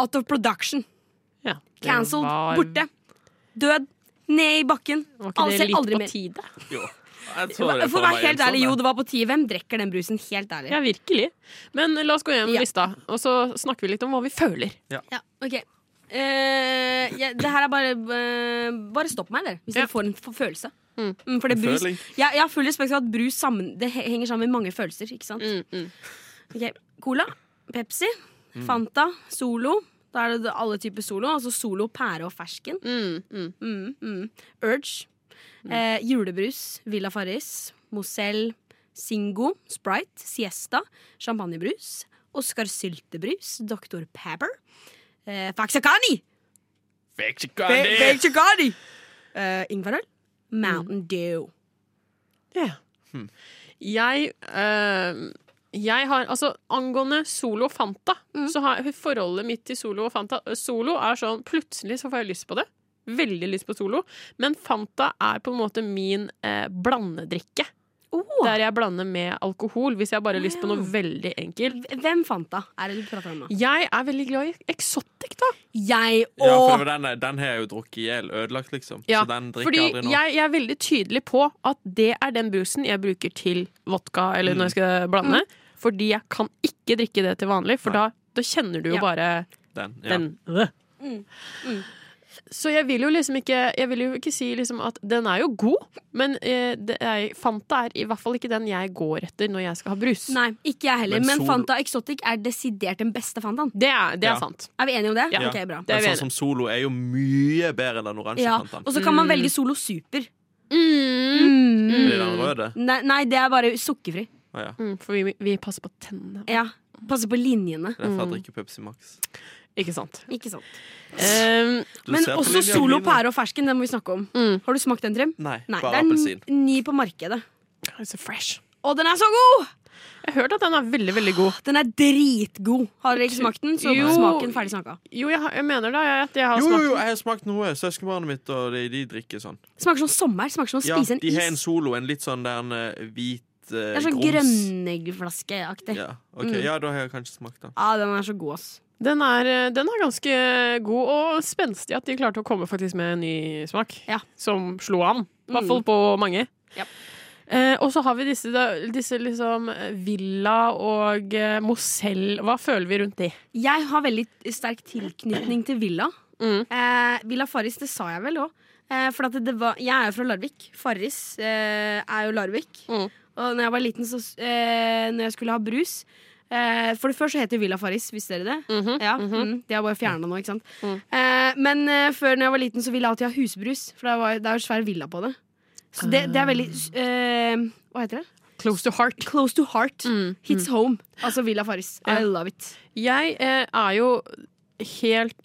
Speaker 6: Out of production.
Speaker 4: ja, det
Speaker 6: Cancelled.
Speaker 4: var-
Speaker 6: Borte. Død. Ned i bakken.
Speaker 4: Var ikke
Speaker 6: Alle
Speaker 4: det
Speaker 6: ser
Speaker 4: litt
Speaker 6: aldri
Speaker 4: på
Speaker 6: mer.
Speaker 4: tide?
Speaker 5: Jo. Jeg så det
Speaker 6: For å
Speaker 5: meg
Speaker 6: være helt
Speaker 5: en sånn
Speaker 6: ærlig, jo,
Speaker 5: en.
Speaker 6: det var på tide. Hvem drikker den brusen? Helt ærlig.
Speaker 4: Ja, virkelig. Men la oss gå gjennom
Speaker 6: Ja.
Speaker 4: lista, og så snakker vi litt om hva vi føler.
Speaker 6: Ja, ok Eh, jeg- Det her er bare eh, Bare stopp meg, dere, hvis
Speaker 4: Ja.
Speaker 6: dere får en f- følelse. Mm, for det
Speaker 5: En
Speaker 6: brus,
Speaker 5: føling.
Speaker 6: jeg, jeg har full respekt for at brus sammen, det he- henger sammen med mange følelser. Ikke sant?
Speaker 4: Mm,
Speaker 6: Ok, Cola, Pepsi,
Speaker 5: Mm.
Speaker 6: Fanta, Solo. Da er det alle typer Solo. Altså Solo, pære og fersken. Mm, mm. Urge.
Speaker 4: Mm.
Speaker 6: Eh, julebrus, Villa Farris, Mozell, Singo, Sprite, Siesta, champagnebrus, Oscar Syltebrus, Dr. Pepper, eh, Faxacani! Faxacani! Eh, Ingefærøl,
Speaker 4: Mm. Hmm.
Speaker 6: Mountain Dew.
Speaker 4: Jeg eh, Jeg har, altså Angående Solo og Fanta,
Speaker 6: Mm.
Speaker 4: så har jeg- forholdet mitt til Solo og Fanta Solo er sånn Plutselig så får jeg lyst på det. Veldig lyst på Solo. Men Fanta er på en måte min eh, blandedrikke. Der jeg blander med alkohol, hvis jeg bare har lyst på noe veldig enkelt.
Speaker 6: Hvem fant da? Er det du prater om nå?
Speaker 4: Jeg er veldig glad i Exotic, da.
Speaker 6: Jeg
Speaker 5: Ja, for det
Speaker 6: og
Speaker 5: var den, den har jeg jo drukket i hjel. Ødelagt, liksom.
Speaker 4: Ja,
Speaker 5: så den drikker
Speaker 4: Fordi
Speaker 5: jeg aldri nå.
Speaker 4: jeg, jeg er veldig tydelig på at det er den brusen jeg bruker til vodka eller
Speaker 5: Mm.
Speaker 4: når jeg skal blande.
Speaker 6: Mm.
Speaker 4: Fordi jeg kan ikke drikke det til vanlig, for da, da kjenner du jo
Speaker 6: Ja. Mm.
Speaker 4: bare
Speaker 5: Den, ja.
Speaker 4: den. Så jeg vil jo liksom ikke Jeg vil jo ikke si liksom at den er jo god, men eh, det er, Fanta er i hvert fall ikke den jeg går etter når jeg skal ha brus.
Speaker 6: Nei, ikke jeg heller.
Speaker 5: Men
Speaker 6: Men
Speaker 5: Sol-
Speaker 6: Fanta Exotic er desidert den beste Fantaen.
Speaker 4: Det er, det er
Speaker 5: Ja.
Speaker 4: sant.
Speaker 6: Er vi enige om det?
Speaker 5: Ja.
Speaker 6: Ok, bra
Speaker 4: Det er
Speaker 5: Men
Speaker 4: vi
Speaker 5: sånn
Speaker 4: enige.
Speaker 5: som Solo er jo mye bedre enn den oransje
Speaker 6: ja.
Speaker 5: Fantaen.
Speaker 6: Og så kan man
Speaker 4: Mm.
Speaker 6: velge Solo Super.
Speaker 4: Mm.
Speaker 5: Er det den røde?
Speaker 6: Nei, nei, det er bare sukkerfri.
Speaker 5: Å ja.
Speaker 4: Mm, for vi, vi passer på tennene.
Speaker 6: Ja, Passe på linjene.
Speaker 5: Det er derfor
Speaker 4: Mm.
Speaker 5: jeg drikker Pepsi Max.
Speaker 4: Ikke sant.
Speaker 6: Ikke sant.
Speaker 4: Um,
Speaker 5: Du
Speaker 6: Men
Speaker 5: ser på
Speaker 6: også
Speaker 5: linja
Speaker 6: Solo
Speaker 5: mine.
Speaker 6: pære og fersken. Den må vi snakke om.
Speaker 4: mm.
Speaker 6: Har du smakt den, Trym?
Speaker 5: Nei,
Speaker 6: Nei,
Speaker 5: bare
Speaker 6: det er
Speaker 5: appelsin.
Speaker 6: n- ny på markedet.
Speaker 4: So fresh.
Speaker 6: Og den er så god!
Speaker 4: Jeg har hørt at den er veldig, veldig god.
Speaker 6: Den er dritgod. Har dere ikke
Speaker 4: Jeg tror-
Speaker 6: smakt den, så
Speaker 4: Jo.
Speaker 6: smaken ferdig snakka.
Speaker 4: Jo, jeg, har- jeg mener da jeg, at jeg har
Speaker 5: Jo, jo,
Speaker 4: smakt
Speaker 5: jo, jeg har smakt noe. Søskenbarnet mitt og de, de drikker sånn.
Speaker 6: Smaker som sommer. Smaker som å
Speaker 5: Ja,
Speaker 6: spise en
Speaker 5: de har en
Speaker 6: is.
Speaker 5: Solo, en litt sånn der en, eh, hvit eh,
Speaker 6: Det er sånn
Speaker 5: grums.
Speaker 6: grønnegleflaskeaktig. Ja.
Speaker 5: Ja, ok.
Speaker 6: Mm.
Speaker 5: ja, da har jeg kanskje smakt den.
Speaker 6: Ah, den er så god, ass.
Speaker 4: Den er, eh, den er ganske god og spenstig at de klarte å komme faktisk med en ny smak.
Speaker 6: Ja. Mm.
Speaker 4: Som slo an. I hvert fall på mange.
Speaker 6: Ja.
Speaker 4: Eh, og så har vi disse, da- disse liksom Villa og eh, Mosell. Hva føler vi rundt de?
Speaker 6: Jeg har veldig sterk tilknytning til Villa.
Speaker 4: Mm.
Speaker 6: Eh, Villa Farris, det sa jeg vel òg. Eh, for at det, det var, jeg er jo fra Larvik. Farris eh, er jo Larvik.
Speaker 4: Mm.
Speaker 6: Og når jeg var liten, så s- eh, Når jeg skulle ha brus eh, For det første het det Villa Farris, visste dere det?
Speaker 4: Mhm,
Speaker 6: Ja, mm, De har bare fjerna nå, ikke sant.
Speaker 4: Mm.
Speaker 6: Eh, men eh, før når jeg var liten, så ville jeg alltid ha husbrus. For det, var, det er jo svær villa på det. Så det, det er veldig eh, Hva heter det?
Speaker 4: Close to heart.
Speaker 6: Close to heart. Hits home. Altså Villa Farris.
Speaker 4: Mm. Ja.
Speaker 6: I love it.
Speaker 4: Jeg eh, er jo helt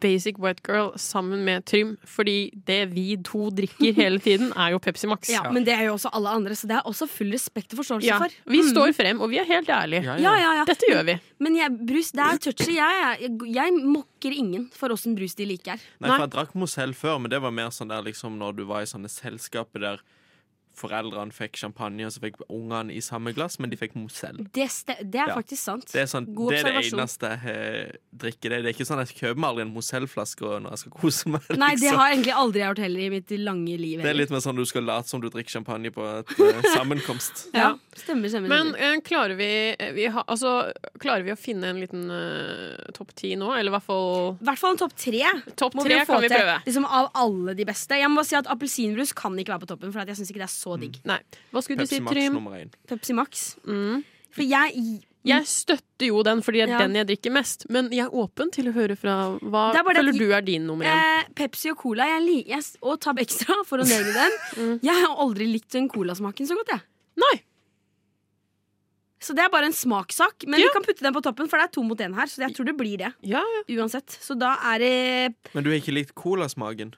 Speaker 4: basic white girl sammen med Trym, fordi det vi to drikker hele tiden, er jo Pepsi Max.
Speaker 6: Ja, Men det er jo også alle andre, så det er også full respekt og forståelse
Speaker 4: Ja,
Speaker 6: for. Mm.
Speaker 4: Vi står frem, og vi er helt ærlige.
Speaker 6: Ja, ja, ja.
Speaker 4: Dette gjør vi.
Speaker 6: Men jeg, brus, det er touchy. Jeg, jeg, jeg mokker ingen for åssen brus de liker.
Speaker 5: Nei,
Speaker 4: Nei.
Speaker 5: for jeg drakk Moselle før, men det var mer sånn der liksom når du var i sånne selskaper der foreldrene fikk champagne, og så fikk ungene i samme glass, men de fikk Moselle.
Speaker 6: Det, ste, det er
Speaker 5: Ja.
Speaker 6: faktisk sant.
Speaker 5: Det er, sånn,
Speaker 6: God
Speaker 5: det, er det
Speaker 6: observasjon.
Speaker 5: eneste jeg eh, drikker. Det, det er ikke sånn at jeg kjøper meg aldri en Moselle-flaske når jeg skal kose meg.
Speaker 6: Nei, det
Speaker 5: liksom.
Speaker 6: har jeg egentlig aldri gjort heller i mitt lange liv.
Speaker 5: det er
Speaker 6: heller.
Speaker 5: litt mer sånn du skal late som du drikker champagne på et eh, sammenkomst.
Speaker 6: ja. Stemmer, stemmer.
Speaker 4: Men
Speaker 6: stemmer.
Speaker 4: eh, klarer, vi, eh, vi ha, altså, klarer vi å finne en liten eh, topp ti nå? Eller i hvert fall
Speaker 6: I hvert fall en topp tre.
Speaker 4: topp
Speaker 6: må
Speaker 4: tre
Speaker 6: jo få
Speaker 4: kan vi
Speaker 6: til,
Speaker 4: prøve.
Speaker 6: Liksom Av alle de beste. Jeg må bare si at Appelsinbrus kan ikke være på toppen, for at jeg syns ikke det er så digg.
Speaker 4: Nei. Hva skulle
Speaker 5: Pepsi
Speaker 4: du si,
Speaker 5: Max
Speaker 4: Trym?
Speaker 5: nummer én.
Speaker 6: Pepsi Max.
Speaker 4: Mm.
Speaker 6: For jeg
Speaker 4: Jeg støtter jo den, fordi det er
Speaker 6: Ja.
Speaker 4: den jeg drikker mest. Men jeg er åpen til å høre fra Hva
Speaker 6: Det er bare det
Speaker 4: føler
Speaker 6: at-
Speaker 4: du er din nummer én?
Speaker 6: eh, Pepsi og cola jeg li- jeg, s- og Tab Extra, for å nevne den.
Speaker 5: Mm.
Speaker 6: Jeg har aldri likt den colasmaken så godt, jeg.
Speaker 4: Nei!
Speaker 6: Så det er bare en smakssak. Men
Speaker 4: Ja.
Speaker 6: vi kan putte den på toppen, for det er to mot én her. Så jeg tror det blir det.
Speaker 4: Ja, ja.
Speaker 6: Uansett. Så da er det
Speaker 5: Men du har ikke likt colasmaken?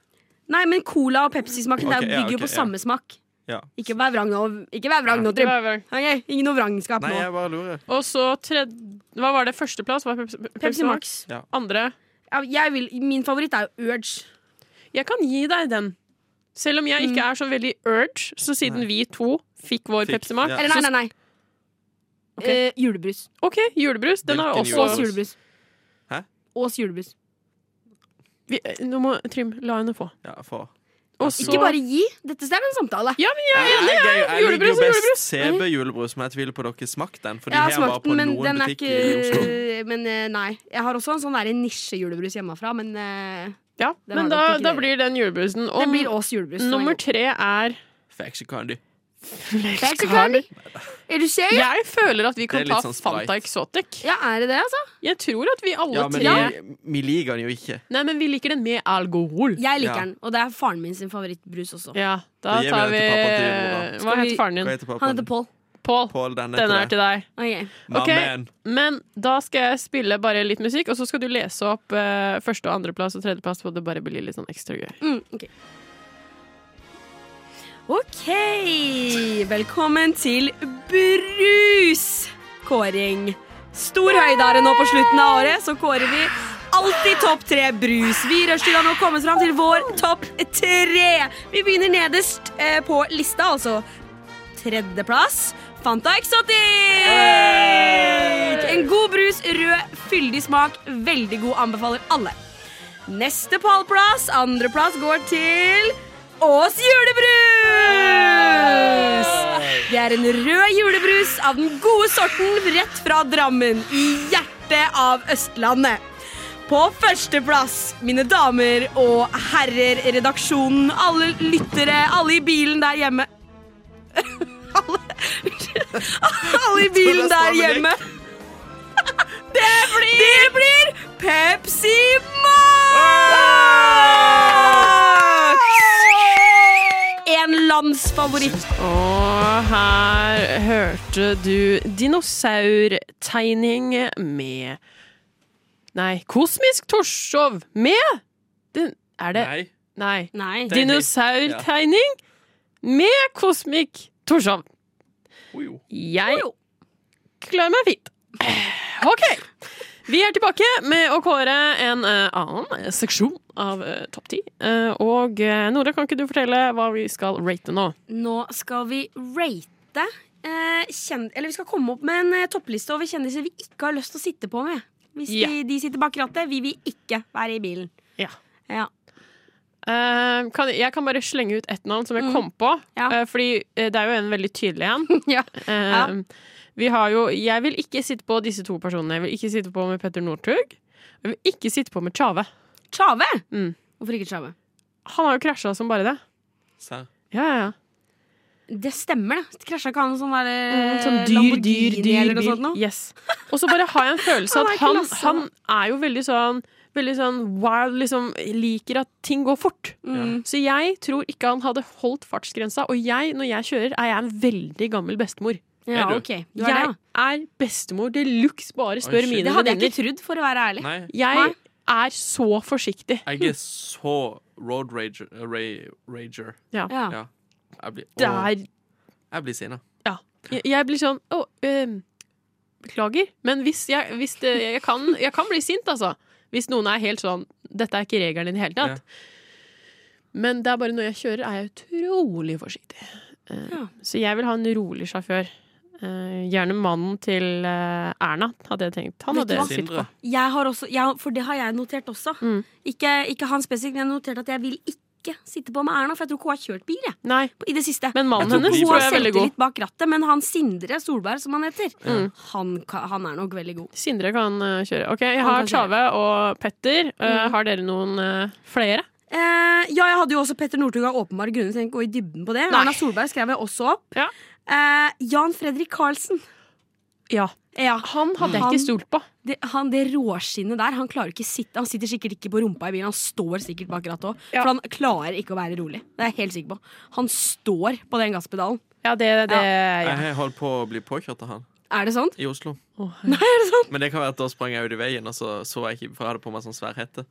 Speaker 6: Nei, men cola og Pepsi-smaken det er
Speaker 5: Ok,
Speaker 6: jo-
Speaker 5: ja,
Speaker 6: bygger jo
Speaker 5: ok,
Speaker 6: på
Speaker 5: ja.
Speaker 6: samme smak.
Speaker 5: Ja.
Speaker 6: Ikke vær vrang nå, Ikke vær vrang nå Trym. Ok, Ingen noe vrangskap
Speaker 5: Nei,
Speaker 6: nå.
Speaker 5: jeg bare lurer.
Speaker 4: Og så tredje Hva var det? Førsteplass var Pepsi,
Speaker 6: Pepsi Max.
Speaker 4: Andre
Speaker 6: Ja, Jeg vil, min favoritt er jo Urge.
Speaker 4: Jeg kan gi deg den. Selv om jeg ikke
Speaker 6: Mm.
Speaker 4: er så veldig urge, så siden
Speaker 5: Nei.
Speaker 4: vi to fikk vår
Speaker 5: Fikk,
Speaker 4: Pepsi Max
Speaker 5: ja.
Speaker 6: Eller nei,
Speaker 4: så-
Speaker 6: nei, nei.
Speaker 4: Ok.
Speaker 6: Eh, julebrus.
Speaker 4: OK, julebrus. Den er
Speaker 5: Hvilken
Speaker 4: også
Speaker 6: Ås julebrus.
Speaker 5: Hæ?
Speaker 6: Ås julebrus.
Speaker 4: vi, eh, Nå må Trym la henne få.
Speaker 5: Ja, for.
Speaker 4: Og så
Speaker 6: Ikke bare gi. Dette er en samtale.
Speaker 5: Jeg, jeg, jeg, jeg, liker jo
Speaker 4: Julebrus og
Speaker 5: best CB julebrus, men jeg tviler på dere smakte den. For
Speaker 6: Jeg har
Speaker 5: de her var
Speaker 6: smakt
Speaker 5: på
Speaker 6: den, men
Speaker 5: noen
Speaker 6: den er
Speaker 5: butikker i Oslo.
Speaker 6: ikke Men eh, nei. Jeg har også en sånn der nisjejulebrus hjemmefra, men eh,
Speaker 4: Ja,
Speaker 6: Den har dere
Speaker 4: men da,
Speaker 6: ikke
Speaker 4: da
Speaker 6: dere.
Speaker 4: blir den julebrusen.
Speaker 6: det
Speaker 4: Og
Speaker 6: blir Ås julebrus. Den er
Speaker 4: nummer
Speaker 6: god.
Speaker 4: tre er
Speaker 5: Faction Candy.
Speaker 6: Mexican? Er du seriøs?
Speaker 4: Jeg føler at vi kan
Speaker 5: Det er
Speaker 4: ta
Speaker 5: litt sånn Sprite.
Speaker 4: Fanta Exotic.
Speaker 6: Ja, er det det, altså?
Speaker 4: Jeg tror at vi alle
Speaker 5: Ja,
Speaker 4: tre
Speaker 5: men vi, vi liker den jo ikke.
Speaker 4: Nei, men vi liker den med alkohol.
Speaker 6: Jeg liker
Speaker 5: Ja.
Speaker 6: den, og det er faren min sin favorittbrus også.
Speaker 4: Ja, da
Speaker 5: Da gir vi
Speaker 4: tar
Speaker 5: den
Speaker 4: vi
Speaker 5: til pappaen til Nora.
Speaker 4: Hva
Speaker 6: Skal vi-
Speaker 4: heter faren
Speaker 5: Hva
Speaker 4: din?
Speaker 5: heter pappaen?
Speaker 6: Han heter Paul.
Speaker 4: Pål.
Speaker 5: Pål, den
Speaker 4: Den er
Speaker 5: heter det.
Speaker 4: til deg.
Speaker 6: Ok.
Speaker 5: My
Speaker 4: Ok.
Speaker 5: man.
Speaker 4: Men da skal jeg spille bare litt musikk, og så skal du lese opp eh, første- og andreplass og tredjeplass, så det bare blir litt sånn ekstra gøy.
Speaker 6: Mm, ok. Ok, velkommen til brus! kåring. Stor høydare nå på slutten av året, så kårer vi alltid topp tre brus. Vi i Rushtid har nå kommet fram til vår topp tre. Vi begynner nederst eh, på lista, altså tredjeplass. Fanta Exotic! En god brus, rød, fyldig smak. Veldig god. Anbefaler alle. Neste pallplass, andreplass, går til Ås julebrus! Det er en rød julebrus av den gode sorten rett fra Drammen, i hjertet av Østlandet. På førsteplass, mine damer og herrer, redaksjonen, alle lyttere, alle i bilen der hjemme Alle, alle i bilen der hjemme. Det blir, Pepsi Max! En landsfavoritt.
Speaker 4: Og her hørte du dinosaurtegning med Nei, Kosmisk Torshov med den, Er det Nei.
Speaker 5: Nei.
Speaker 6: Nei.
Speaker 5: Tegning.
Speaker 4: Dinosaurtegning med Kosmik Torshov.
Speaker 5: Ojo.
Speaker 4: Jeg klarer meg fint. OK. Vi er tilbake med å kåre en eh, annen seksjon av eh, Topp 10. Eh, og eh, Nora, kan ikke du fortelle hva vi skal rate nå?
Speaker 6: Nå skal vi rate eh, kjend... Eller vi skal komme opp med en eh, toppliste over kjendiser vi ikke har lyst til å sitte på med. Hvis
Speaker 4: Ja.
Speaker 6: de, de sitter bak rattet, vi vil ikke være i bilen.
Speaker 4: Ja.
Speaker 6: Ja.
Speaker 4: Eh, kan, jeg kan bare slenge ut ett navn som jeg
Speaker 6: Mm.
Speaker 4: kom på.
Speaker 6: Ja.
Speaker 4: Eh, fordi eh, det er jo en veldig tydelig en.
Speaker 6: Ja.
Speaker 4: Eh, Vi har jo Jeg vil ikke sitte på disse to personene. Jeg vil ikke sitte på med Petter Northug. Jeg vil ikke sitte på med Tjave.
Speaker 6: Tjave!
Speaker 4: Mm.
Speaker 6: Hvorfor ikke Tjave?
Speaker 4: Han har jo krasja som bare det.
Speaker 5: Sa-
Speaker 4: Ja, ja, ja.
Speaker 6: Det stemmer, det. Krasja ikke han sånn der eh,
Speaker 4: Mm, Som dyr, dyr,
Speaker 6: Lamborghini
Speaker 4: dyr
Speaker 6: eller noe sånt noe?
Speaker 4: bil. Yes. Og så bare har jeg en følelse
Speaker 6: Han
Speaker 4: at
Speaker 6: er
Speaker 4: han,
Speaker 6: klasse.
Speaker 4: han er jo veldig sånn Veldig sånn wild, liksom liker at ting går fort.
Speaker 6: Mm.
Speaker 4: Så jeg tror ikke han hadde holdt fartsgrensa. Og jeg, når jeg kjører, er jeg en veldig gammel bestemor.
Speaker 6: Ja,
Speaker 5: Er du?
Speaker 6: ok. Du er det,
Speaker 4: jeg
Speaker 6: ja.
Speaker 4: er bestemor de luxe, bare spør
Speaker 5: shit.
Speaker 4: mine
Speaker 6: Det hadde jeg
Speaker 4: venninner.
Speaker 6: ikke trodd, for å være ærlig.
Speaker 5: Nei,
Speaker 4: Jeg er så forsiktig.
Speaker 5: jeg er så road rager. Ray, rager.
Speaker 6: Ja.
Speaker 5: Ja. Jeg blir,
Speaker 4: Det
Speaker 5: Åh,
Speaker 4: er
Speaker 5: jeg blir sinna.
Speaker 4: Jeg, jeg blir sånn Å, øhm, beklager. Men hvis jeg, hvis det, jeg, kan, jeg kan bli sint, altså. Hvis noen er helt sånn Dette er ikke regelen i det hele tatt. Men det er bare når jeg kjører, er jeg utrolig forsiktig. Eh,
Speaker 6: Ja.
Speaker 4: Så jeg vil ha en rolig sjåfør. Eh, gjerne mannen til eh, Erna, hadde jeg tenkt. Han
Speaker 6: Vet du
Speaker 4: hadde
Speaker 6: hva?
Speaker 4: jeg sittet på.
Speaker 5: Sindre.
Speaker 6: Jeg har også, jeg, for det har jeg notert også.
Speaker 4: Mm.
Speaker 6: Ikke, ikke han spesifikt, men jeg har notert at jeg vil ikke sitte på med Erna, for jeg tror ikke hun har kjørt bil jeg,
Speaker 4: Nei,
Speaker 6: på- i det siste.
Speaker 4: men mannen
Speaker 5: Jeg tror
Speaker 4: hennes
Speaker 5: ikke
Speaker 6: hun
Speaker 4: tror
Speaker 6: har
Speaker 4: jeg er veldig god.
Speaker 6: selvtillit bak rattet, men han Sindre Solberg, som han heter,
Speaker 4: Mm.
Speaker 6: han, ka- han er nok veldig god.
Speaker 4: Sindre kan eh, kjøre. Ok, Jeg
Speaker 6: Han
Speaker 4: har
Speaker 6: kan kjøre.
Speaker 4: Tjave og Petter. Eh,
Speaker 6: Mm.
Speaker 4: har dere noen eh, flere?
Speaker 6: Eh, ja, jeg hadde jo også Petter Northug av åpenbare grunner, så jeg trenger ikke gå i dybden på det.
Speaker 4: Nei.
Speaker 6: Erna Solberg skrev jeg også opp.
Speaker 4: Ja.
Speaker 6: Eh, Jan Fredrik Karlsen.
Speaker 4: Ja.
Speaker 6: Ja,
Speaker 4: Han hadde jeg
Speaker 6: Han-
Speaker 4: ikke stolt på.
Speaker 6: det, han, det råskinnet der, han klarer ikke sitte Han sitter sikkert ikke på rumpa i bilen, han står sikkert bak rattet òg.
Speaker 4: Ja.
Speaker 6: For han klarer ikke å være rolig. Det er jeg helt sikker på. Han står på den gasspedalen.
Speaker 4: Ja, det, det ja.
Speaker 5: Jeg har holdt på å bli påkjørt av han
Speaker 6: Er det sant?
Speaker 5: i Oslo.
Speaker 4: Å, herregud.
Speaker 5: Men det kan være at da sprang jeg ut i veien, og så så jeg ikke, for jeg hadde på meg sånn svær hette.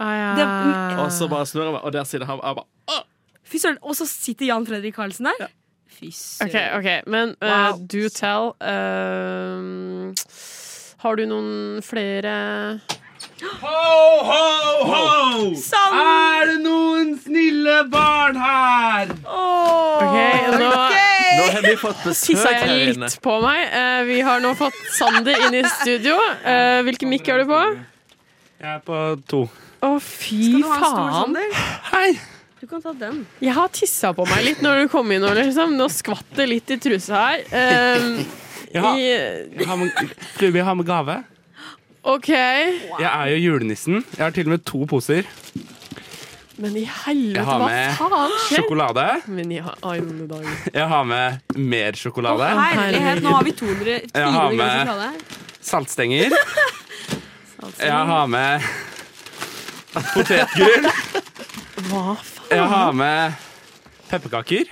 Speaker 4: Ah, ja.
Speaker 5: Og så bare snur jeg meg, og der sitter han. og Jeg bare,
Speaker 6: Fy søren. Og så sitter Jan Fredrik Karlsen der. Fy søren.
Speaker 4: OK, ok, men uh,
Speaker 6: Wow.
Speaker 4: do tell um, Har du noen flere
Speaker 7: Ho, ho, ho!
Speaker 6: Sann!
Speaker 7: Er det noen snille barn her?
Speaker 4: OK, nå
Speaker 5: nå har vi fått besøk
Speaker 4: tissa
Speaker 5: her
Speaker 4: jeg
Speaker 5: inne.
Speaker 4: litt på meg. Eh, vi har nå fått Sander inn i studio. Eh, hvilken mikk er du på?
Speaker 7: Jeg er på to.
Speaker 4: Å, fy faen!
Speaker 7: Hei!
Speaker 6: sånn Du kan ta den.
Speaker 4: Jeg har tissa på meg litt når du kom inn. Ole, Liksom. Nå skvatt det litt i trusa her. Eh,
Speaker 7: Jeg har,
Speaker 4: i,
Speaker 7: jeg har med, Ruby, jeg har med gave.
Speaker 4: OK.
Speaker 7: Jeg er jo julenissen. Jeg har til og med to poser.
Speaker 4: Men i
Speaker 7: Jeg
Speaker 4: helvete,
Speaker 7: har
Speaker 4: hva
Speaker 7: med
Speaker 4: faen skjer?
Speaker 7: Sjokolade.
Speaker 4: Men i alle dager.
Speaker 7: Jeg har med mer sjokolade.
Speaker 6: Herlighet, nå har vi 200
Speaker 7: Jeg har
Speaker 6: 400
Speaker 7: med-
Speaker 6: gram sjokolade her.
Speaker 7: Saltstenger. Jeg har med potetgull.
Speaker 4: Hva faen?
Speaker 7: Jeg har med pepperkaker.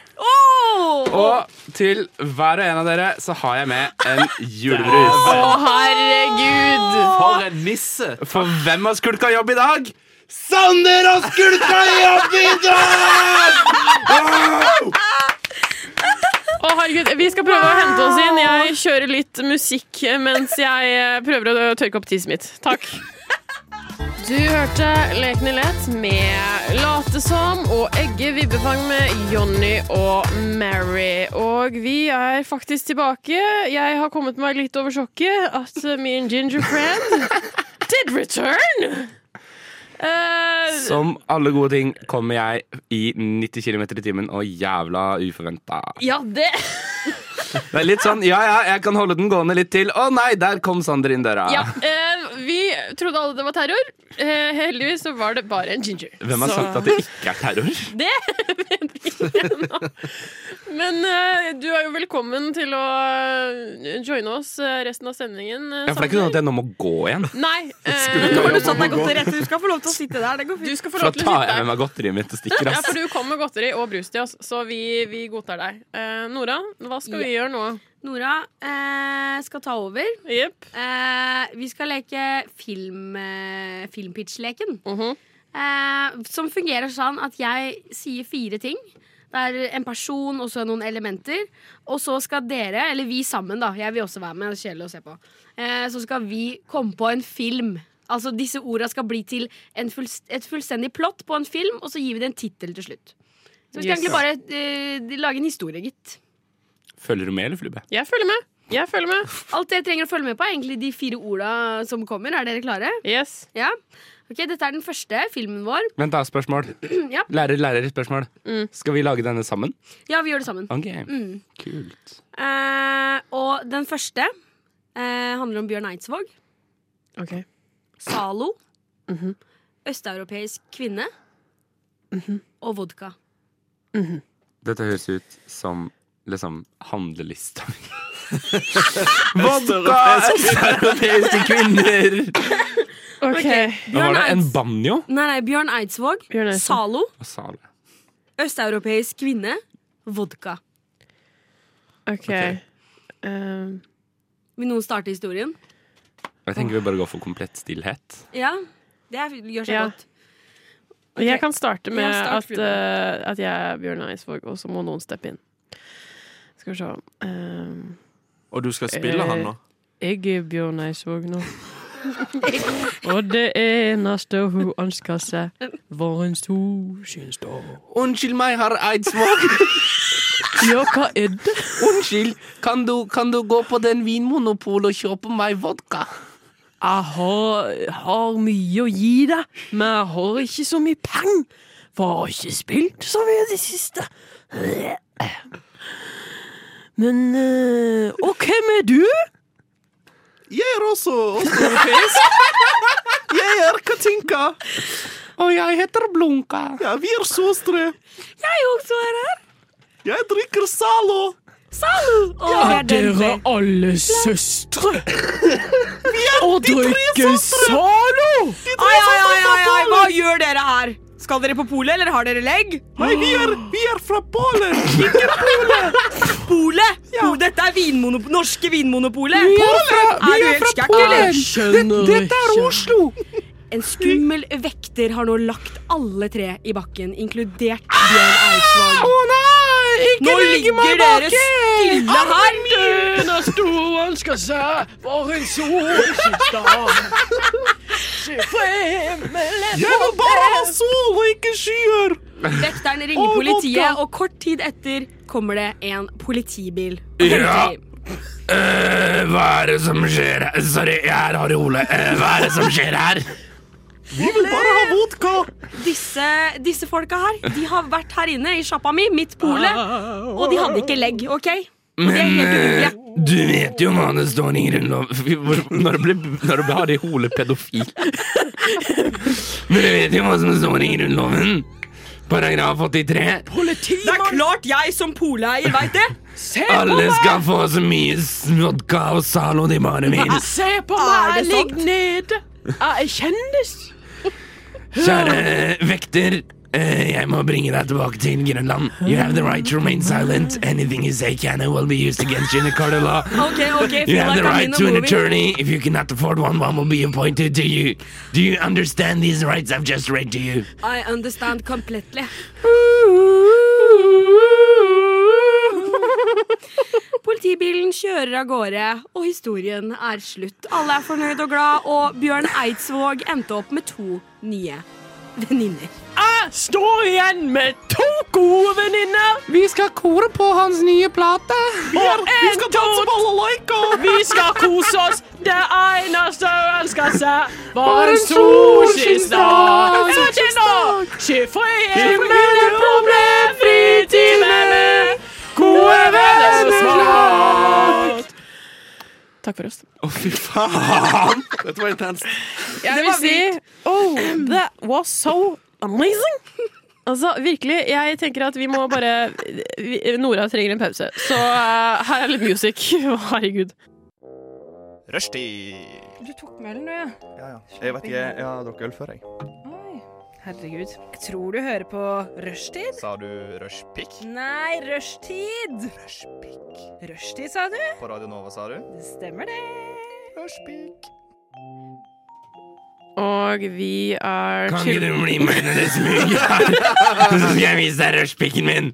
Speaker 7: Og til hver og en av dere så har jeg med en julebrus.
Speaker 4: Å, herregud!
Speaker 5: For en nisse!
Speaker 7: For hvem har skulka jobb i dag? Sander har skulka jobb i dag! Wow!
Speaker 4: Å, herregud. Vi skal prøve å hente oss inn. Jeg kjører litt musikk mens jeg eh, prøver å tørke opp tisset mitt. Takk. Du hørte Lekene lett med Late som og Egge Vibbefang med Jonny og Mary. Og vi er faktisk tilbake. Jeg har kommet meg litt over sjokket at min ginger friend did return. Eh,
Speaker 7: Som alle gode ting kommer jeg i 90 km i timen og jævla uforventa.
Speaker 4: ja, det
Speaker 7: Det er litt sånn ja ja, jeg kan holde den gående litt til. Å nei, der kom Sander inn døra.
Speaker 4: Ja, eh, vi trodde alle det var terror. Eh, heldigvis så var det bare en ginger.
Speaker 7: Hvem har
Speaker 4: så
Speaker 7: sagt at det ikke er terror?
Speaker 4: det? vet ikke ennå. Men eh, du er jo velkommen til å eh, joine oss eh, resten av sendingen. eh,
Speaker 7: Ja, for det er ikke
Speaker 4: Sander.
Speaker 7: sånn at jeg nå må gå igjen.
Speaker 4: Nei.
Speaker 6: Nå har
Speaker 4: Eh,
Speaker 6: du satt deg godt til rette. Du skal få lov til å sitte der. Det går
Speaker 4: du
Speaker 6: fint.
Speaker 4: skal få
Speaker 7: For
Speaker 4: lov
Speaker 7: da
Speaker 4: til å
Speaker 7: tar
Speaker 4: sitte
Speaker 7: jeg
Speaker 4: der.
Speaker 7: med meg godteriet mitt og stikker.
Speaker 4: Ja,
Speaker 7: ass.
Speaker 4: for du kom med godteri og brus til oss, så vi, vi godtar deg. Eh, Nora, hva skal vi gjøre nå?
Speaker 6: Nora eh, skal ta over.
Speaker 4: Jepp.
Speaker 6: Eh, vi skal leke film, eh, filmpitch-leken.
Speaker 4: Mhm.
Speaker 6: eh, som fungerer sånn at jeg sier fire ting. Det er en person og så noen elementer. Og så skal dere, eller vi sammen, da jeg vil også være med, det er kjedelig å se på. Eh, så skal vi komme på en film. Altså Disse orda skal bli til en fulls- et fullstendig plott på en film, og så gir vi det en tittel til slutt. Så vi skal
Speaker 4: Yes.
Speaker 6: egentlig bare eh, lage en historie, gitt.
Speaker 7: Følger du med, eller, Flube?
Speaker 4: Jeg følger med. Jeg følger med.
Speaker 6: Alt dere trenger å følge med på, er egentlig de fire orda som kommer. Er dere klare?
Speaker 4: Yes.
Speaker 6: Ja. Ok, Dette er den første filmen vår.
Speaker 7: Vent, da. Spørsmål.
Speaker 6: Ja.
Speaker 7: Lærer, lærer, spørsmål.
Speaker 4: Mm.
Speaker 7: Skal vi lage denne sammen?
Speaker 6: Ja, vi gjør det sammen.
Speaker 7: OK.
Speaker 6: Mm.
Speaker 7: Kult.
Speaker 6: Eh, og den første eh, handler om Bjørn Eidsvåg.
Speaker 4: Ok.
Speaker 6: Zalo.
Speaker 4: Mhm.
Speaker 6: Østeuropeisk kvinne.
Speaker 4: Mhm.
Speaker 6: Og vodka.
Speaker 7: Dette høres ut som liksom handlelista mi.
Speaker 5: Østeuropeisk
Speaker 7: Østeuropeiske kvinner! Hva var det? En
Speaker 6: Eids-
Speaker 7: banjo?
Speaker 6: Nei, nei, Bjørn Eidsvåg.
Speaker 4: Bjørn Eidsvåg.
Speaker 6: Zalo.
Speaker 7: Og sale.
Speaker 6: Østeuropeisk kvinne. Vodka.
Speaker 4: Ok.
Speaker 7: Ok.
Speaker 4: Um,
Speaker 6: Vil noen starte historien?
Speaker 7: Jeg tenker vi bare går for komplett stillhet.
Speaker 6: Ja. Det er, gjør seg
Speaker 4: Ja.
Speaker 6: godt.
Speaker 4: Jeg kan starte med
Speaker 6: Ja, start,
Speaker 4: at,
Speaker 6: Frida.
Speaker 4: eh, at jeg er Bjørn Eidsvåg, og så må noen steppe inn. Skal vi se. Um,
Speaker 5: Og du skal spille han nå?
Speaker 4: jeg er Bjørn Eidsvåg nå. og det eneste hun ønsker seg, var en solskinnsdag.
Speaker 7: Unnskyld meg, herr Eidsvåg.
Speaker 4: Ja, hva er det?
Speaker 7: Unnskyld. Kan du, kan du gå på den Vinmonopolet og kjøpe meg vodka?
Speaker 4: Jeg har, har mye å gi deg, men jeg har ikke så mye penger. For jeg har ikke spilt så mye i det siste. Men eh, Og hvem er du?
Speaker 5: Jeg er også østeuropeisk. Jeg er Katinka.
Speaker 7: Og jeg heter Blunka.
Speaker 5: Ja, vi er søstre.
Speaker 6: Jeg også er her.
Speaker 5: Jeg drikker Zalo.
Speaker 6: Og ja, det er den
Speaker 4: Dere
Speaker 6: til.
Speaker 4: alle søstre! Og drikker Zalo!
Speaker 6: Ai, ai, ai, ai, ai, hva gjør dere her? Skal dere på polet, eller har dere legg?
Speaker 5: Nei, vi er, vi er fra Polen.
Speaker 6: Polet! Jo, Dette er vinmonop norske Vinmonopolet.
Speaker 4: Vi
Speaker 6: du
Speaker 4: er
Speaker 6: helt
Speaker 4: fra
Speaker 6: skakk, eller?
Speaker 4: Polen! Skjønner ikke.
Speaker 5: Oslo.
Speaker 6: En skummel vekter har nå lagt alle tre i bakken, inkludert Bjørn
Speaker 4: Ah!
Speaker 6: Eidsvåg. Å nei! Ikke nå ligger dere stille her.
Speaker 4: Eneste hun ønsker seg, var en solskinnsdag. Se fremmede
Speaker 5: Jeg vil bare ha sol og ikke skyer.
Speaker 6: Vekteren ringer
Speaker 5: Å,
Speaker 6: politiet,
Speaker 5: vodka.
Speaker 6: og kort tid etter kommer det en politibil.
Speaker 7: Ja. Eh, hva er det som skjer her? Sorry, jeg er Harry Ole. Eh, hva er det som skjer her?
Speaker 5: Vi vil bare ha vodka.
Speaker 6: Disse, disse folka her, de har vært her inne i sjappa mi, midt polet, og de hadde ikke legg, OK? Og de er helt udugelige.
Speaker 7: Du vet jo hva det står i Grunnloven Når det ble, når det ble Harry Hole pedofil. Men du vet jo hva som står i Grunnloven? Paragraf 83.
Speaker 6: Det er klart jeg som poleeier veit det.
Speaker 7: Alle skal få så mye vodka og Zalo de bare vil.
Speaker 4: Se på
Speaker 6: Er
Speaker 4: meg,
Speaker 6: det
Speaker 4: jeg ligger nede. Jeg er kjendis.
Speaker 7: Kjære vekter, eh, jeg må bringe deg tilbake til Grønland. You have the right to remain silent. Anything you say can and will be used against you in a court of law.
Speaker 6: OK, OK,
Speaker 7: You
Speaker 6: feel
Speaker 7: have
Speaker 6: like
Speaker 7: the
Speaker 6: I'm
Speaker 7: right
Speaker 6: in a
Speaker 7: to an
Speaker 6: movie.
Speaker 7: attorney. If you cannot afford one, one will be appointed to you. Do you understand these rights I've just read to you?
Speaker 6: I understand completely. Politibilen kjører av gårde, og historien er slutt. Alle er fornøyd og glad, og Bjørn Eidsvåg endte opp med to nye venninner.
Speaker 4: Jeg står igjen med to gode venninner.
Speaker 7: Vi skal kore på hans nye plate.
Speaker 4: Vi skal danse balalaika! Vi skal kose oss. Det eneste jeg ønsker seg, var en solskinnsdag. Solskinnsdag! Skiftfrihet med en problemfri time med gode venner så smart. Takk for oss.
Speaker 5: Å, fy faen! Dette var intenst.
Speaker 4: Jeg vil si Oh, that was so amazing! Altså, virkelig, jeg tenker at vi må bare vi, Nora trenger en pause. Så eh, her er litt music. Herregud.
Speaker 1: Rushtid!
Speaker 2: Du tok med den, du, ja.
Speaker 1: Ja, ja. Jeg vet ikke, jeg har drukket øl før, jeg.
Speaker 2: Oi. Herregud. Jeg tror du hører på rushtid.
Speaker 1: Sa du rushpick?
Speaker 2: Nei, rushtid.
Speaker 1: Rushpick.
Speaker 2: Rushtid, sa du?
Speaker 1: På Radio Nova, sa du?
Speaker 2: Det stemmer, det.
Speaker 1: Rushpick.
Speaker 4: Og vi er
Speaker 7: Kan ikke
Speaker 4: til
Speaker 7: du bli med ned i smyget her? Så skal jeg vise deg rushpicken min.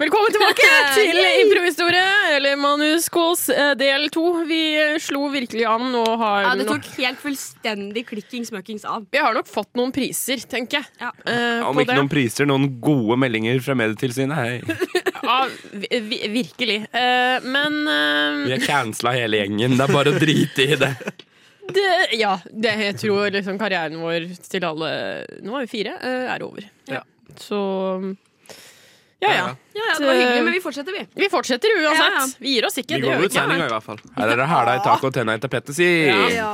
Speaker 4: Velkommen tilbake til improhistorie, eller Manus Kåls eh, del to. Vi eh, slo virkelig an og har
Speaker 6: Ja, det
Speaker 4: nok,
Speaker 6: tok helt fullstendig klikkings møkkings av.
Speaker 4: Vi har nok fått noen priser, tenker jeg.
Speaker 6: Ja.
Speaker 4: eh,
Speaker 7: Om
Speaker 4: på
Speaker 7: ikke
Speaker 4: det.
Speaker 7: noen priser, noen gode meldinger fra Medietilsynet. Hei.
Speaker 4: Ja, vi, vi, virkelig. Eh, men eh,
Speaker 7: Vi har cancela hele gjengen. Det er bare å drite i det.
Speaker 4: det, ja, det, jeg tror liksom karrieren vår til alle Nå er vi fire, eh, er over. Ja. Så ja, ja.
Speaker 6: Ja, ja, det var
Speaker 4: Eh,
Speaker 6: hyggelig, men vi fortsetter, vi.
Speaker 4: Vi fortsetter uansett.
Speaker 6: Ja, ja.
Speaker 4: Vi gir oss ikke.
Speaker 5: Vi
Speaker 4: Det gjør
Speaker 5: går
Speaker 4: vi
Speaker 5: ut
Speaker 4: ikke.
Speaker 5: sendinga, i hvert fall.
Speaker 7: Her er det hæla i taket og tenna i tapetet, si.
Speaker 6: Ja.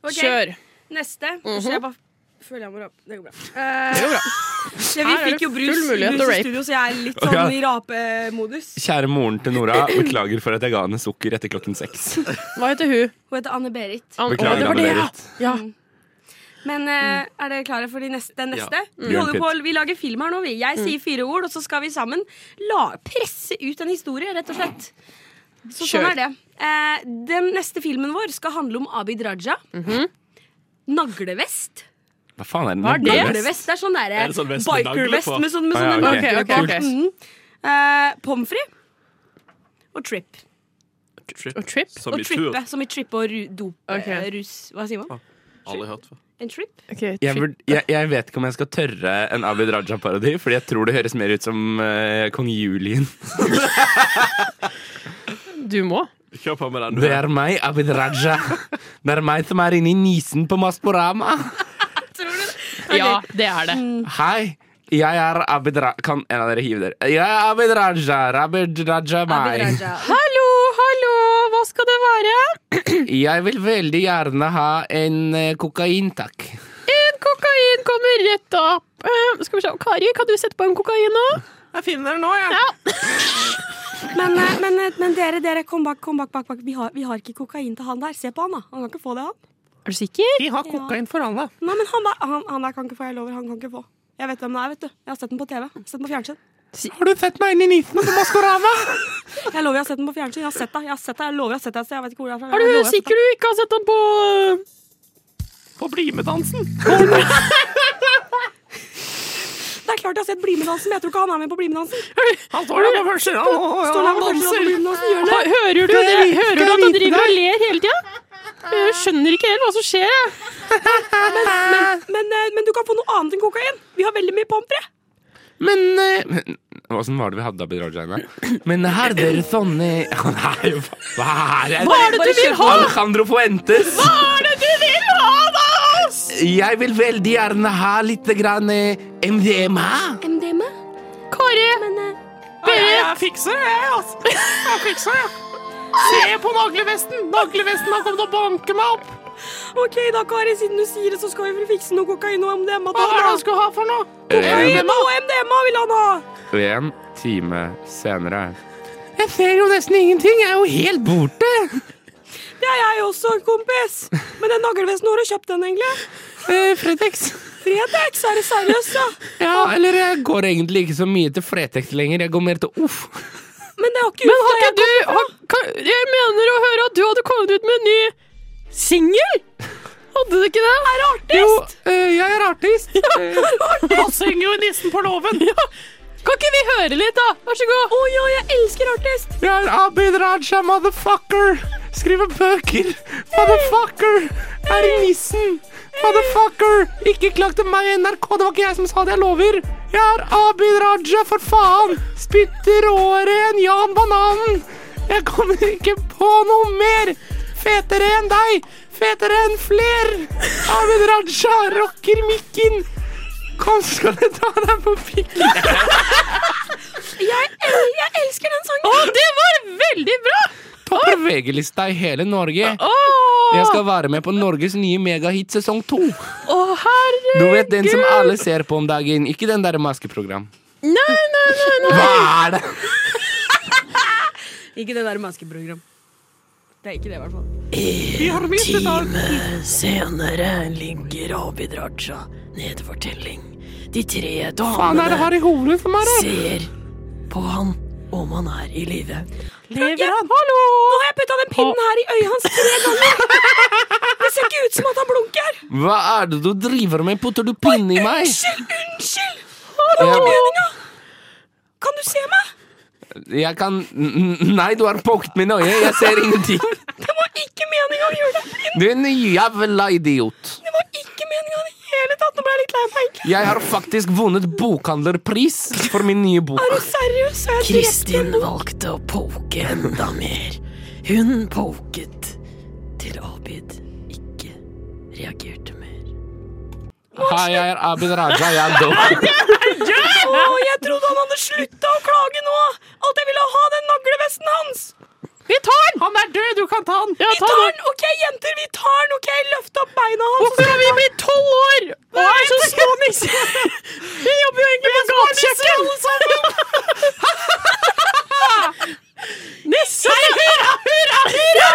Speaker 6: Ok,
Speaker 4: Kjør.
Speaker 6: Neste.
Speaker 4: Mhm.
Speaker 6: Så jeg bare føler jeg må rape. Det går bra. Eh, ja, vi
Speaker 4: Her er
Speaker 6: fikk
Speaker 4: det
Speaker 6: jo brus,
Speaker 4: full mulighet
Speaker 6: brus
Speaker 4: til å
Speaker 6: i
Speaker 4: rape.
Speaker 6: studio, så jeg er litt
Speaker 7: Ok.
Speaker 6: sånn i rapemodus.
Speaker 7: Kjære moren til Nora, beklager for at jeg ga henne sukker etter klokken seks.
Speaker 4: Hva heter hun?
Speaker 6: Hun heter Anne Berit.
Speaker 4: An- Å,
Speaker 7: Beklager,
Speaker 4: det var det, ja.
Speaker 7: Anne-Berit.
Speaker 4: ja.
Speaker 6: Men eh,
Speaker 4: Mm.
Speaker 6: er dere klare for de neste, den neste? Vi,
Speaker 7: Bjørn
Speaker 6: holder på,
Speaker 7: Pitt.
Speaker 6: vi lager film her nå, vi. Jeg
Speaker 4: Mm.
Speaker 6: sier fire ord, og så skal vi sammen la, presse ut en historie, rett og slett. Så sånn
Speaker 4: Kjør.
Speaker 6: er det. Eh, den neste filmen vår skal handle om Abid Raja.
Speaker 4: Mhm.
Speaker 6: Naglevest.
Speaker 7: Hva faen er det?
Speaker 4: Hva er det?
Speaker 7: Naglevest?
Speaker 6: Naglevest er sånn derre
Speaker 5: Er det sånn vest med nagle
Speaker 6: bikervest
Speaker 5: på?
Speaker 6: med sånn med
Speaker 7: Ah, ja,
Speaker 6: sånne
Speaker 7: ok.
Speaker 6: nagler
Speaker 4: Ok,
Speaker 6: på.
Speaker 4: ok, ok.
Speaker 6: Mhm. Eh, Pommes frites og trip.
Speaker 5: Trip.
Speaker 4: Og Trip?
Speaker 5: Som
Speaker 6: Og
Speaker 5: i tur.
Speaker 6: trippe, som i trippe og ru, dop,
Speaker 4: Ok.
Speaker 6: eh, rus Hva sier
Speaker 7: Ah.
Speaker 6: man?
Speaker 5: Aldri hørt før.
Speaker 6: En trip?
Speaker 4: Ok,
Speaker 7: Jeg,
Speaker 4: trip.
Speaker 7: vurd- jeg, jeg vet ikke om jeg skal tørre en Abid Raja-parodi, fordi jeg tror det høres mer ut som eh, kong Julien.
Speaker 4: Du må.
Speaker 5: Kjør på med den.
Speaker 7: Det er meg, Abid Raja. Det er meg som er inni nisen på Maskorama.
Speaker 4: Ja, det er det.
Speaker 6: Mm.
Speaker 7: Hei, jeg er Abid Raja Kan en av dere hive dere? Jeg er Abid Raja. Abid Raja er
Speaker 6: Abid
Speaker 7: meg.
Speaker 6: Raja.
Speaker 4: Hallo, hallo, hva skal det være?
Speaker 7: Jeg vil veldig gjerne ha en eh, kokain, takk.
Speaker 4: En kokain kommer rett opp. Eh, skal vi se. Kari, kan du sette på en kokain nå?
Speaker 3: Jeg finner den nå, jeg.
Speaker 6: Men, eh, men, eh, men dere, dere, kom bak, kom bak, bak, bak. Vi, har, vi har ikke kokain til han der. Se på han, da. Han kan ikke få det, han.
Speaker 4: Er du sikker?
Speaker 3: Vi har
Speaker 6: kokain
Speaker 3: for alle.
Speaker 6: Nei, men han, der- han, han der kan ikke få, jeg lover. Han kan ikke få. Jeg vet hvem det er, vet du. Jeg har sett den på TV. Jeg har Sett den på fjernsyn.
Speaker 7: Har du sett meg inni nisen på Maskorama?
Speaker 6: Jeg lover, jeg har sett den på fjernsyn. Jeg har sett deg. Jeg har sett deg. Jeg lover, jeg har sett deg. et sted. Jeg vet ikke hvor det er fra.
Speaker 4: Er
Speaker 6: Jeg
Speaker 4: du
Speaker 6: lover, jeg har sett
Speaker 4: sikker du ikke har sett den på eh,
Speaker 5: På BlimE-dansen.
Speaker 6: deg. Det er klart jeg har sett Blimedansen, men jeg tror ikke han er med på Blimedansen.
Speaker 5: Han står der på første rad. Å, ja,
Speaker 6: Står han på første rad
Speaker 5: han
Speaker 6: på
Speaker 5: danser.
Speaker 6: Blimedansen? Gjør han det?
Speaker 4: Hva- Hører du, at dere, hører du at han driver og ler hele tida? Jeg skjønner ikke helt hva som skjer. Jeg.
Speaker 6: Men, eh, men du kan få noe annet enn kokain. Vi har veldig mye pommes frites.
Speaker 7: Men eh, Åssen var det vi hadde Abid Raja inne? Men har dere sånne Nei, hva- hva er det?
Speaker 4: Hva er det du vil ha?
Speaker 7: Alejandro Fuentes.
Speaker 4: Hva er det du vil ha da, oss?
Speaker 7: Jeg vil veldig gjerne ha litt grann eh, MDMA.
Speaker 6: MDMA?
Speaker 4: Kari,
Speaker 3: Jeg fikser det, jeg, altså. Jeg fikser det. Se på naglevesten! Naglevesten har kommet og banket meg opp!
Speaker 6: OK, da, Kari. Siden du sier det, så skal vi vel fikse noe kokain og MDMA til
Speaker 3: Hva er det
Speaker 6: han,
Speaker 3: han
Speaker 6: da.
Speaker 3: skulle ha for noe?
Speaker 7: Eh,
Speaker 6: Kokain og MDMA vil han ha!
Speaker 7: En time senere. Jeg ser jo nesten ingenting. Jeg er jo helt borte.
Speaker 6: Det er jeg også, kompis. Men den naglevesten, hvor har du kjøpt den, egentlig?
Speaker 7: Eh, Fretex.
Speaker 6: Fretex, er det seriøst, da?
Speaker 7: Ja, eller jeg går egentlig ikke så mye til Fretex lenger. Jeg går mer til Uff.
Speaker 6: Men det har ikke
Speaker 4: men har
Speaker 6: jeg
Speaker 4: ikke du har, kan, Jeg mener å høre at du hadde kommet ut med en ny singel? Hadde du ikke det? Er artist?
Speaker 7: Eh, jeg er artist.
Speaker 3: Han synger jo i Nissen på låven!
Speaker 4: Kan ikke vi høre litt, da? Vær så god. Å ja, jeg elsker artist.
Speaker 7: Jeg er Abid Raja, motherfucker. Skriver bøker. Motherfucker. Er i nissen. Motherfucker. Ikke klag til meg i NRK, det var ikke jeg som sa det, jeg lover. Jeg er Abid Raja, for faen. Spytter råere enn Jan Bananen. Jeg kommer ikke på noe mer. Fetere enn deg. Fetere enn fler. Abid Raja rocker mikken. Kom, skal jeg ta deg på pikken.
Speaker 6: Jeg, el jeg elsker den sangen!
Speaker 4: Å, det var veldig bra!
Speaker 7: Topper VG-lista i hele Norge.
Speaker 4: Å,
Speaker 7: Jeg skal være med på Norges nye megahit sesong to.
Speaker 4: å herre...
Speaker 7: Du vet den som alle ser på om dagen, ikke den der maskeprogram.
Speaker 4: Nei, nei, nei, nei.
Speaker 7: Hva er det?
Speaker 6: Ikke det der maskeprogram. Det er ikke det, i hvert fall.
Speaker 3: Vi har mistet alt.
Speaker 9: Senere ligger Abid Raja nede for telling. De tre
Speaker 7: Faen er det
Speaker 9: damene
Speaker 7: her i hodet som er det?
Speaker 9: ser på han om han er i live.
Speaker 6: Ja, hallo! Nå har jeg putta den pinnen her i øyet hans tre ganger! Det ser ikke ut som at han blunker!
Speaker 7: Hva er det du driver med? Putter du pinne i meg?
Speaker 6: Unnskyld! Unnskyld!
Speaker 7: Jeg,
Speaker 6: Meninga! Kan du se meg?
Speaker 7: jeg kan n- n- Nei, du har påkt mine øyne. Jeg ser ingenting.
Speaker 6: Det var ikke meninga å gjøre deg blind!
Speaker 7: Du er en jævla idiot.
Speaker 6: Det var ikke meninga i det hele tatt! Nå ble jeg litt lei meg, egentlig.
Speaker 7: Jeg har faktisk vunnet bokhandlerpris for min nye bok.
Speaker 6: Seriøst, så jeg drepte
Speaker 9: Kristin valgte å poke enda mer. Hun poket til Abid ikke reagerte mer.
Speaker 7: Hei, jeg er Abid Raja. Jeg er dum.
Speaker 6: Å, jeg trodde han hadde slutta å klage nå! At jeg ville ha den naglevesten hans!
Speaker 4: Vi tar den!
Speaker 3: Han er død, du kan ta han.
Speaker 4: Ja,
Speaker 6: Vi
Speaker 4: ta
Speaker 6: tar
Speaker 4: den.
Speaker 6: den! OK, jenter, vi tar den! OK, løft opp beina hans!
Speaker 4: Hvorfor har vi blitt tolv år og er så små nisser? Vi jobber jo egentlig på gatekjøkken. Nisser! Hurra, hurra, hurra!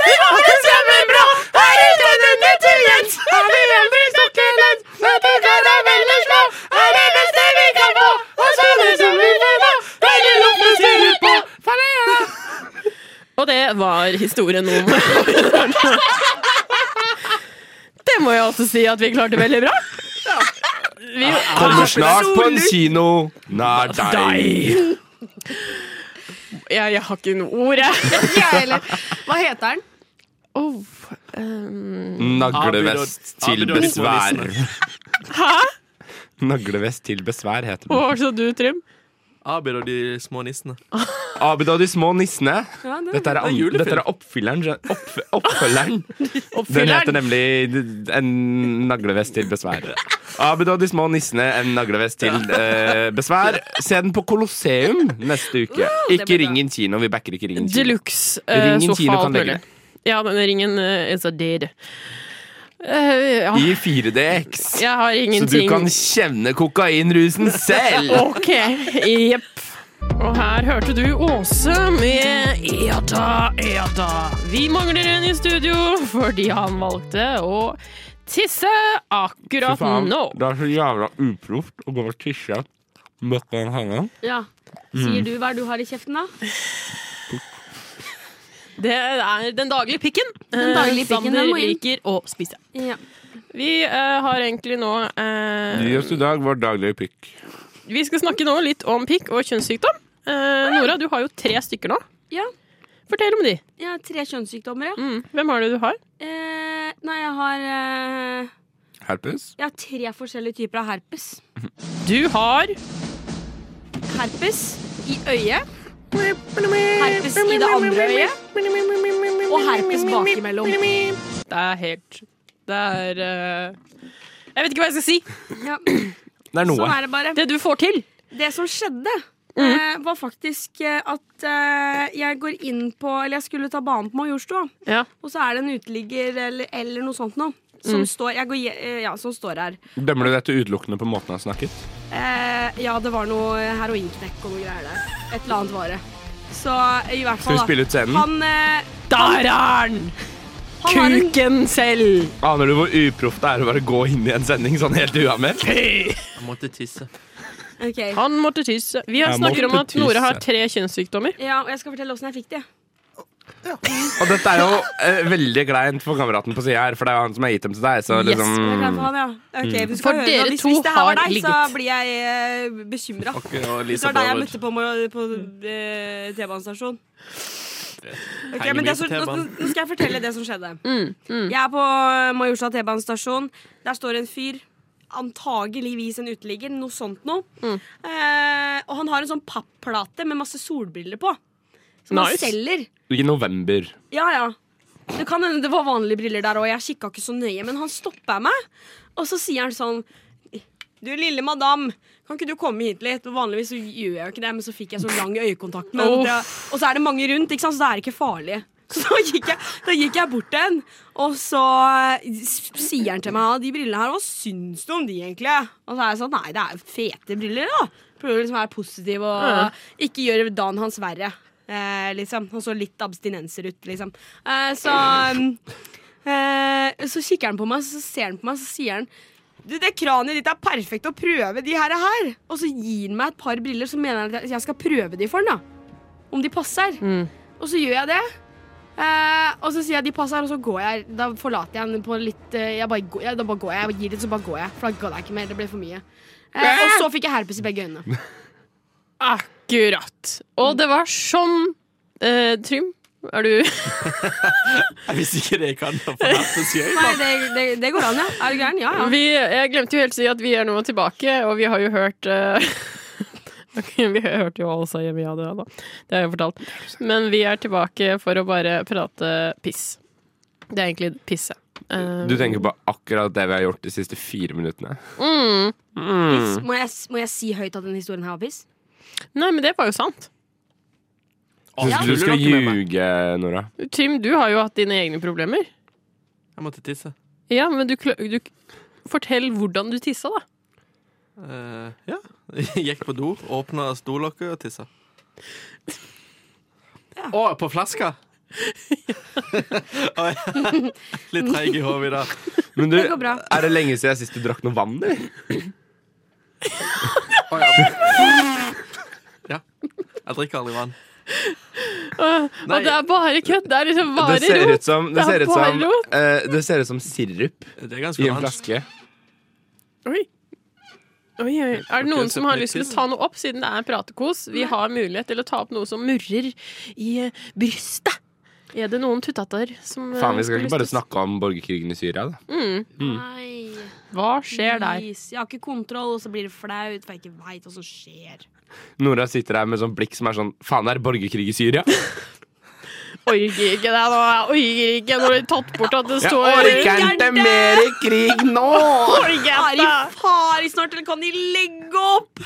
Speaker 4: Det var det kjempebra! Her er denne nøttingen! Er vi aldri sukkerløs? Nøttekar er veldig små! Er det beste vi kan få! Og så er det som vi vil ha! Hele lommen ser ut på! Og det var historien om Det må jeg også si at vi klarte veldig bra. Vi,
Speaker 7: Kommer snart på en kino nær deg.
Speaker 4: jeg, jeg har ikke noe ord, jeg.
Speaker 6: Hva heter den?
Speaker 4: Oh, ehm,
Speaker 7: Naglevest til
Speaker 5: Abid Raja-
Speaker 7: besvær.
Speaker 4: hæ?
Speaker 7: Naglevest til besvær heter
Speaker 4: Hva
Speaker 7: den.
Speaker 4: var det du, Trym?
Speaker 5: Abid og de små nissene.
Speaker 7: Abid og de små nissene. Dette er, an-
Speaker 5: Det er julefilm.
Speaker 7: dette er oppfylleren. Opp, oppfølgeren. Den heter
Speaker 4: Oppfylleren?
Speaker 7: nemlig En naglevest til besvær. Abid og de små nissene, en naglevest til eh, besvær. Se den på Colosseum neste uke. Ikke Ringen kino. Vi backer ikke Ringen kino.
Speaker 4: Deluxe eh,
Speaker 7: Ringen kino
Speaker 4: sofa
Speaker 7: kan
Speaker 4: alt
Speaker 7: legge
Speaker 4: mulig. Ja, men ringen eh, is a dead. Eh, ja.
Speaker 7: I 4DX.
Speaker 4: Jeg har
Speaker 7: Så du
Speaker 4: ingenting
Speaker 7: kan kjenne kokainrusen selv.
Speaker 4: Ok, jepp. Og her hørte du Åse med Eda, Eda. Vi mangler en i studio fordi han valgte å tisse akkurat nå.
Speaker 7: det er så jævla uproft å gå og tisse møkk en henge.
Speaker 6: Ja. Sier du hva du har i kjeften, da?
Speaker 4: Det er den daglige pikken.
Speaker 6: Den daglige
Speaker 4: eh,
Speaker 6: pikken,
Speaker 4: Sander
Speaker 6: den må inn.
Speaker 4: liker å spise.
Speaker 6: Ja.
Speaker 4: Vi eh, har egentlig nå eh,
Speaker 7: Gi oss i dag vår daglige pikk.
Speaker 4: Vi skal snakke nå litt om pikk og kjønnssykdom. Eh, Nora, du har jo tre stykker nå.
Speaker 6: Ja.
Speaker 4: Fortell om de.
Speaker 6: Jeg har tre kjønnssykdommer, ja.
Speaker 4: Mm. Hvem har det du har?
Speaker 6: Eh, nei, jeg har eh,
Speaker 7: Herpes?
Speaker 6: Jeg har tre forskjellige typer av herpes.
Speaker 4: Du har
Speaker 6: Herpes i øyet. Herpes i det andre øyet. Og herpes bakimellom.
Speaker 4: Det er helt Det er eh, Jeg vet ikke hva jeg skal si.
Speaker 6: Ja,
Speaker 7: Det er
Speaker 6: sånn
Speaker 7: noe.
Speaker 6: er det bare.
Speaker 4: Det du får til.
Speaker 6: Det som skjedde, eh, var faktisk eh, at eh, jeg går inn på Eller jeg skulle ta banen på Majorstua,
Speaker 4: Ja.
Speaker 6: og så er det en uteligger eller, eller noe sånt nå. Som, står, jeg går, je- eh, ja, som står her.
Speaker 7: Dømmer du dette utelukkende på måten han snakket?
Speaker 6: Eh, ja, det var noe heroinknekk og noe greier der. Et eller annet vare. Så eh, i hvert
Speaker 7: Skal
Speaker 6: fall
Speaker 7: vi spille ut scenen?
Speaker 6: Han, eh,
Speaker 4: Der er den!
Speaker 6: han har en
Speaker 4: Kuken selv!
Speaker 7: Aner du hvor uproft det er å bare gå inn i en sending sånn helt uanmeldt?
Speaker 5: Jeg måtte tisse.
Speaker 6: Ok.
Speaker 4: Han måtte tisse. Vi har
Speaker 7: Jeg
Speaker 4: snakker om
Speaker 7: måtte
Speaker 4: at Nora har
Speaker 7: tisse.
Speaker 4: tre kjønnssykdommer.
Speaker 6: Ja, og jeg skal fortelle åssen jeg fikk det.
Speaker 7: Og dette er jo eh, veldig kleint for kameraten på sida her, for det er jo han som har gitt dem til deg. Så
Speaker 6: Det er klart
Speaker 4: Yes,
Speaker 7: liksom
Speaker 6: for han, ja. Ok, hvis du
Speaker 4: For
Speaker 6: skal høre
Speaker 4: dere
Speaker 6: nå, hvis,
Speaker 4: to
Speaker 6: hvis det her var
Speaker 4: har
Speaker 6: deg,
Speaker 4: ligget.
Speaker 6: så blir jeg uh, bekymra.
Speaker 5: Og
Speaker 6: Det
Speaker 5: Lisa
Speaker 6: var deg jeg
Speaker 5: Broward.
Speaker 6: møtte på, mo- på eh, T-banestasjonen. Ok,
Speaker 5: Henger
Speaker 6: men
Speaker 5: mye
Speaker 6: det, som-
Speaker 5: på
Speaker 6: nå,
Speaker 5: T-banen.
Speaker 6: nå skal jeg fortelle det som skjedde.
Speaker 4: Mm, mm.
Speaker 6: Jeg er på eh, Majorstua T-banestasjon. Der står en fyr. Antageligvis en uteligger. Noe sånt noe.
Speaker 4: Mm.
Speaker 6: Eh, og han har en sånn papplate med masse solbriller på. Som
Speaker 4: Nice.
Speaker 6: han selger.
Speaker 7: i november.
Speaker 6: Ja, ja. Det kan hende det var vanlige briller der òg. Jeg kikka ikke så nøye, men han stoppa meg. Og så sier han sånn Du lille madam, kan ikke du komme hit litt? Og vanligvis så gjør jeg jo ikke det, men så fikk jeg så lang øyekontakt med
Speaker 4: Uff.
Speaker 6: henne. Og så er det mange rundt, ikke sant? så det er ikke farlig. Så da gikk, jeg, da gikk jeg bort til henne, og så s- sier han til meg «Ja, de brillene her, hva syns du om de egentlig? Og så er jeg sånn, nei, det er jo fete briller, da. Prøver liksom å være positiv og ikke gjøre dagen hans verre. Eh, liksom. Han så litt abstinenser ut, liksom. Eh, så, eh, så kikker han på meg, så ser han på meg, så sier han du, det kraniet ditt er perfekt å prøve de her, her. Og så gir han meg et par briller, så mener han at jeg- jeg skal prøve de for han, da. Om de passer. Og så gjør jeg det. Eh, og så sier jeg de passer, og så går jeg. Da forlater jeg den på litt eh, jeg bare, går- ja, Da bare går jeg. Jeg gir litt, så bare går jeg. For da gadd jeg ikke mer. Det ble for mye. Eh, og så fikk jeg herpes i begge øynene.
Speaker 4: Akkurat. Og det var sånn eh, Trym, er du
Speaker 5: Jeg visste ikke det kan få herpes i øynene.
Speaker 6: Nei, det, det, det går an, ja. Er du gæren? Ja, ja.
Speaker 4: vi, Jeg glemte jo helt å si at vi er nå tilbake, og vi har jo hørt eh, ok, Vi hørte jo altså hjemme ja, det, da. det har jeg jo fortalt. Men vi er tilbake for å bare prate piss. Det er egentlig pisse. Eh,
Speaker 7: Du tenker på akkurat det vi har gjort de siste fire minuttene.
Speaker 4: mm.
Speaker 6: Piss. Må, jeg, må jeg si høyt at denne historien her var piss?
Speaker 4: Nei, men det var jo sant.
Speaker 7: Du,
Speaker 5: Å,
Speaker 7: du
Speaker 5: tuller
Speaker 7: skal
Speaker 5: dere med meg?
Speaker 7: ljuge, Nora.
Speaker 4: Trym, du har jo hatt dine egne problemer.
Speaker 5: Jeg måtte tisse.
Speaker 4: Ja, men du, kla- du Fortell hvordan du tissa, da.
Speaker 5: Eh, ja. Gikk på do, åpna stolokket og tissa. Å, på flaska! Oi. Litt treig i hodet i dag.
Speaker 7: Men du,
Speaker 6: Det går bra.
Speaker 7: er det lenge siden sist du drakk noe vann, eller?
Speaker 5: Å, ja. ja. Jeg drikker aldri vann. Nei.
Speaker 4: Og det er bare kødd! Det er liksom bare
Speaker 7: Det ser
Speaker 4: rot.
Speaker 7: ut som, det
Speaker 4: Det er
Speaker 7: ser ut som,
Speaker 4: bare rot.
Speaker 7: eh, det ser ut som sirup
Speaker 5: Det er ganske
Speaker 7: i en
Speaker 5: annet.
Speaker 7: flaske.
Speaker 4: Oi. Oi, oi. Er det noen som har lyst til å ta noe opp, siden det er pratekos? Vi har mulighet til å ta opp noe som murrer i eh, brystet. Er det noen tuttater som eh,
Speaker 7: Faen, vi skal
Speaker 4: har lyst
Speaker 7: ikke bare
Speaker 4: til å-
Speaker 7: snakke om borgerkrigen i Syria, da.
Speaker 6: Nei.
Speaker 4: Hva skjer der?
Speaker 6: Please. Jeg har ikke kontroll, og så blir det flaut, for jeg ikke veit hva som skjer.
Speaker 7: Nora sitter her med sånn blikk som er sånn Faen, er det borgerkrig i Syria?
Speaker 4: Orker ikke det nå. Jeg orker ikke når det er tatt bort at det
Speaker 7: Jeg
Speaker 4: står
Speaker 7: orker ikke mer krig nå!
Speaker 4: Orker ikke
Speaker 6: Er i
Speaker 4: det.
Speaker 6: fare snart, eller kan de legge opp?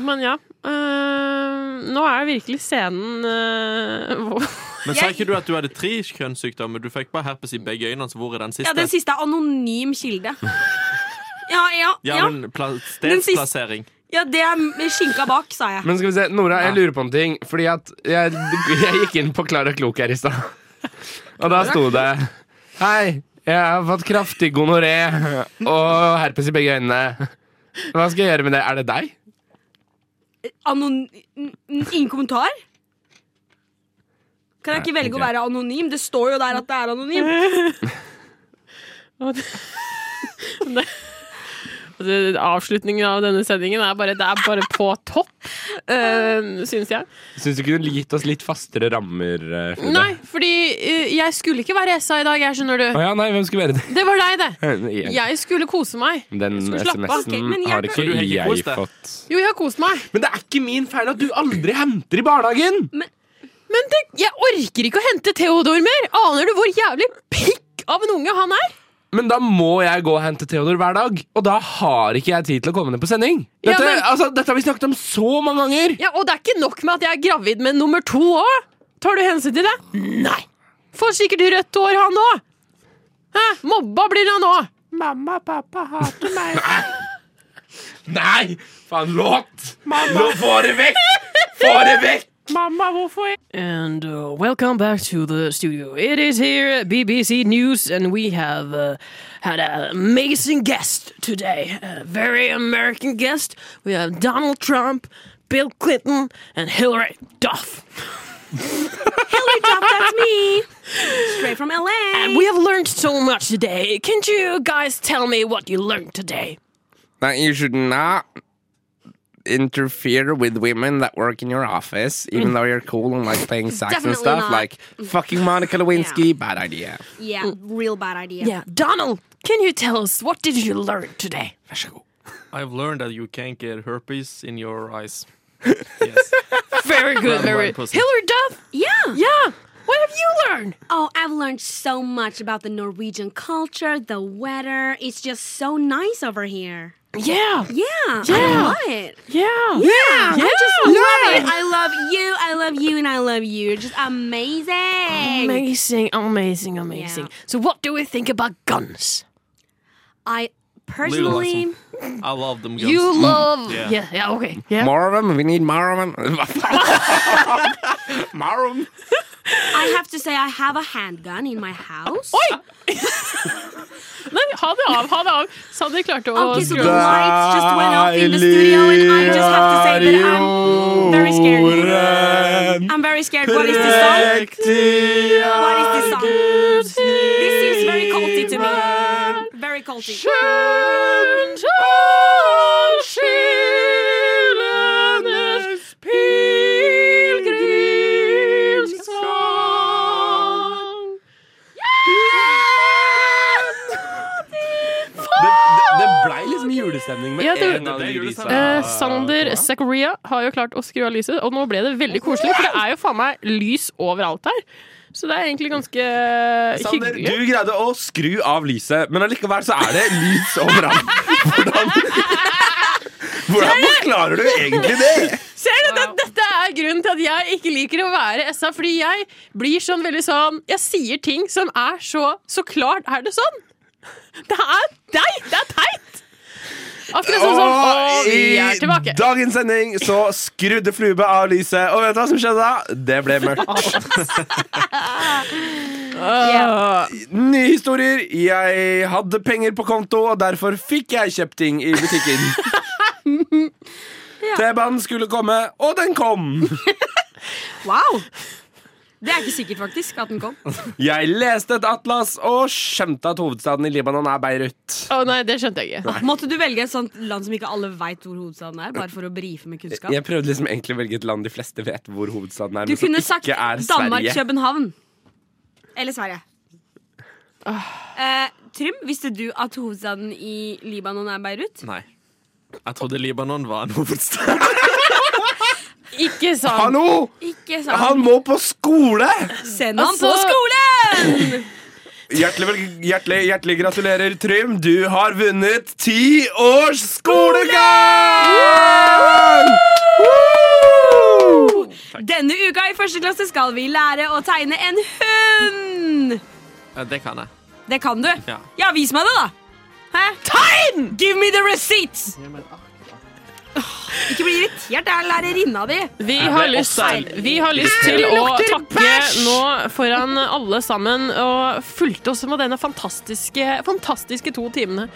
Speaker 4: Men ja. eh, nå er virkelig scenen eh, hvor
Speaker 5: Men sa ikke du at du hadde tre kjønnssykdommer? Du fikk bare herpes i begge øynene, så hvor er den siste?
Speaker 6: Ja, den siste er anonym kilde. Ja, ja,
Speaker 5: Ja,
Speaker 6: ja.
Speaker 5: men pla
Speaker 6: Den siste-
Speaker 5: stedsplassering.
Speaker 6: ja det er med skinka bak, sa jeg.
Speaker 7: Men skal vi se, Nora,
Speaker 5: Ja.
Speaker 7: jeg lurer på en ting. Fordi at jeg, jeg gikk inn på Klara Klok her i stad. Og da sto det Hei, jeg har fått kraftig gonoré og herpes i begge øynene. Hva skal jeg gjøre med det? Er det deg?
Speaker 6: Anon... n- n- Ingen kommentar? Kan jeg ikke velge å
Speaker 7: ok.
Speaker 6: være anonym? Det står jo der at det er anonym.
Speaker 4: Og det- det- det- Avslutningen av denne sendingen er bare, det er bare på topp, uh, syns jeg.
Speaker 7: Syns du ikke du gitt oss litt fastere rammer? eh, Frode?
Speaker 4: Nei, fordi eh, jeg skulle ikke være Esa i dag, jeg, skjønner
Speaker 7: Å
Speaker 4: du.
Speaker 7: ja, nei, hvem skulle være det?
Speaker 4: Det var deg, det.
Speaker 7: Jeg-
Speaker 4: Jeg skulle kose meg.
Speaker 7: Den
Speaker 4: Jeg skulle slappe av.
Speaker 7: SMS-en
Speaker 6: Ok, men jeg-
Speaker 5: Så
Speaker 7: har
Speaker 5: du
Speaker 7: ikke
Speaker 5: har ikke
Speaker 7: jeg
Speaker 5: kost deg?
Speaker 7: fått.
Speaker 4: Jo, jeg har kost meg.
Speaker 7: Men det er ikke min feil at du aldri henter i barnehagen!
Speaker 4: Men det, jeg orker ikke å hente Theodor mer! Aner du hvor jævlig pikk av en unge han er?
Speaker 7: Men da må jeg gå og hente Theodor hver dag, og da har ikke jeg tid til å komme ned på sending.
Speaker 4: Ja,
Speaker 7: Dette,
Speaker 4: men-
Speaker 7: altså, dette har vi snakket om så mange ganger!
Speaker 4: Ja, Og det er ikke nok med at jeg er gravid med nummer to òg! Tar du hensyn til det? Nei! Får sikkert rødt hår, han òg! Hæ? Mobba blir han òg!
Speaker 3: Mamma og pappa hater meg.
Speaker 7: Nei! Faen, låt! Nå få det vekk! Få det vekk!
Speaker 3: Mamma, hvorfor
Speaker 9: And uh, welcome back to the studio. It is here, BBC News, and we have uh, had an amazing guest today. A very American guest. We have Donald Trump, Bill Clinton, and Hillary Duff.
Speaker 6: Hilly Duff, that's me. Straight from LA.
Speaker 9: And we have learned so much today. Can you guys tell me what you learned today?
Speaker 7: That you should not interfere with women that work in your office, even though you're cool and like playing sax and
Speaker 6: Definitely
Speaker 7: stuff.
Speaker 6: not.
Speaker 7: Like fucking Monica Lewinsky, bad idea.
Speaker 6: yeah, real bad idea.
Speaker 9: Yeah, Donald, can you tell us what did you learn today?
Speaker 7: Vær så god.
Speaker 5: I've learned that you can't get herpes in your eyes. Yes.
Speaker 9: Very good,
Speaker 5: Round
Speaker 9: very
Speaker 5: one
Speaker 9: good.
Speaker 5: pussy.
Speaker 9: Hillary Duff,
Speaker 6: Yeah.
Speaker 9: yeah, what have you learned?
Speaker 6: Oh, I've learned so much about the Norwegian culture, the weather. It's just so nice over here.
Speaker 9: Yeah,
Speaker 6: Yeah.
Speaker 9: Yeah.
Speaker 6: I love it.
Speaker 9: yeah,
Speaker 6: Yeah. I just
Speaker 9: Yeah.
Speaker 6: love it. I love you. I love you and I love you. You're just amazing.
Speaker 9: Amazing, amazing, amazing.
Speaker 6: Yeah.
Speaker 9: So, what do we think about guns?
Speaker 6: I personally
Speaker 5: Legalism. I love them guns. Mm.
Speaker 9: You love,
Speaker 5: Yeah.
Speaker 9: yeah, yeah, okay, yeah.
Speaker 7: More of them. We need more of them. Hva faen? more of them.
Speaker 6: I have to say I have a handgun in my house.
Speaker 4: Nei, ha det av, ha det av. Sander klarte å
Speaker 6: Oh, Okay, so the
Speaker 4: skru av.
Speaker 6: lights just went off in the studio, and I just have to say that I'm very scared. I'm very scared. What is this song? What is this song? This seems very culty to me. Very culty.
Speaker 7: Det, det, det blei liksom julestemning med
Speaker 4: Ja, det-
Speaker 7: en av
Speaker 5: Det
Speaker 7: de
Speaker 5: er julestemning.
Speaker 7: grisene.
Speaker 4: Eh, Sander Zakaria har jo klart å skru av lyset, og nå ble det veldig koselig, for det er jo faen meg lys overalt her. Så det er egentlig ganske
Speaker 7: Sander,
Speaker 4: Eh, hyggelig.
Speaker 7: du greide å skru av lyset, men allikevel så er det lys overalt. Hvordan
Speaker 4: Sånn,
Speaker 7: Hvordan forklarer du egentlig det?
Speaker 4: Ser du, det, Dette er grunnen til at jeg ikke liker å være SA, fordi jeg blir sånn veldig sånn Jeg sier ting som er så Så klart er det sånn! Det er teit! Det er teit! Akkurat sånn som Og vi er
Speaker 7: i
Speaker 4: tilbake.
Speaker 7: dagens sending så skrudde Flube av lyset, og vet du hva som skjedde da? Det ble mørkt. Nye historier. Jeg hadde penger på konto, og derfor fikk jeg kjøpt ting i butikken. T-banen skulle komme, og den kom.
Speaker 6: Wow. Det er ikke sikkert faktisk at den kom.
Speaker 7: Jeg leste et atlas og skjønte at hovedstaden i Libanon er Beirut.
Speaker 4: Å nei, det skjønte jeg ikke.
Speaker 6: Måtte du velge et sånt land som ikke alle veit hvor hovedstaden er? Bare for å brife med kunnskap?
Speaker 7: Jeg prøvde liksom egentlig å velge et land de fleste vet hvor hovedstaden er.
Speaker 6: Du
Speaker 7: men som
Speaker 6: kunne
Speaker 7: ikke
Speaker 6: sagt
Speaker 7: er
Speaker 6: Danmark,
Speaker 7: Sverige.
Speaker 6: København. Eller Sverige. Eh, Trym, visste du at hovedstaden i Libanon er Beirut?
Speaker 5: Nei. Jeg trodde Libanon var en hovedstad.
Speaker 4: Ikke sant?
Speaker 7: Hallo!
Speaker 6: Ikke sant?
Speaker 7: Han må på skole!
Speaker 6: Send ham
Speaker 4: Altså-
Speaker 6: på skolen!
Speaker 7: Hjertelig, vel- hjertelig, hjertelig gratulerer, Trym. Du har vunnet ti års skolegang! Woo!
Speaker 6: Denne uka i første klasse skal vi lære å tegne en hund.
Speaker 5: Ja, det kan jeg.
Speaker 6: Det kan du.
Speaker 5: Ja.
Speaker 6: Ja, vis meg det, da. Hæ? Tegn! Give me the receipts! Ikke bli irritert, det er lærerinna di.
Speaker 4: Vi har, lyst, vi har lyst til å takke nå foran alle sammen og fulgte oss med denne fantastiske, fantastiske to timene.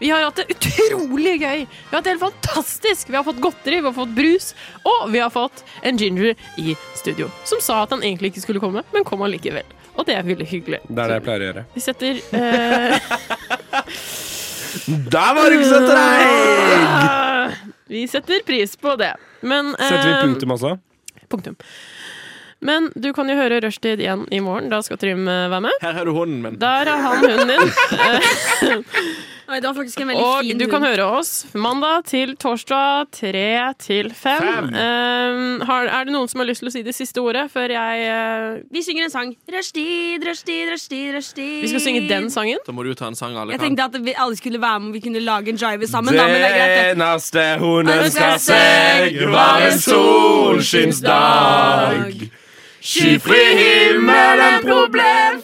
Speaker 4: Vi har hatt det utrolig gøy. Vi har hatt det helt fantastisk. Vi har fått godteri, vi har fått brus, og vi har fått en ginger i studio. Som sa at han egentlig ikke skulle komme, men kom allikevel. Og det er veldig hyggelig.
Speaker 7: Det er det jeg pleier å gjøre.
Speaker 4: Vi setter eh,
Speaker 7: Der var det ikke så treig!
Speaker 4: eh, Vi setter pris på det. Men
Speaker 7: Setter vi
Speaker 4: eh,
Speaker 7: punktum også?
Speaker 4: Punktum. Men du kan jo høre Rushtid igjen i morgen. Da skal Trym eh, være med.
Speaker 5: Her er du hunden min.
Speaker 4: Der er han hunden din.
Speaker 6: Oi, det var faktisk en veldig
Speaker 4: Og
Speaker 6: fin
Speaker 4: du kan
Speaker 6: hund.
Speaker 4: høre oss mandag til torsdag tre til fem.
Speaker 7: Fem.
Speaker 4: Eh, har- Er det noen som har lyst til å si det siste ordet før jeg eh,
Speaker 6: Vi synger en sang. Rushtid, rushtid, rushtid, rushtid.
Speaker 4: Vi skal synge den sangen.
Speaker 5: Da må du ta en sang alle
Speaker 6: Jeg
Speaker 5: kan.
Speaker 6: tenkte at vi alle skulle være med, og vi kunne lage en jive sammen. Da, men det er greit. det.
Speaker 7: Eneste hunden skal seg, var en solskinnsdag. Skyfri himmel, en problem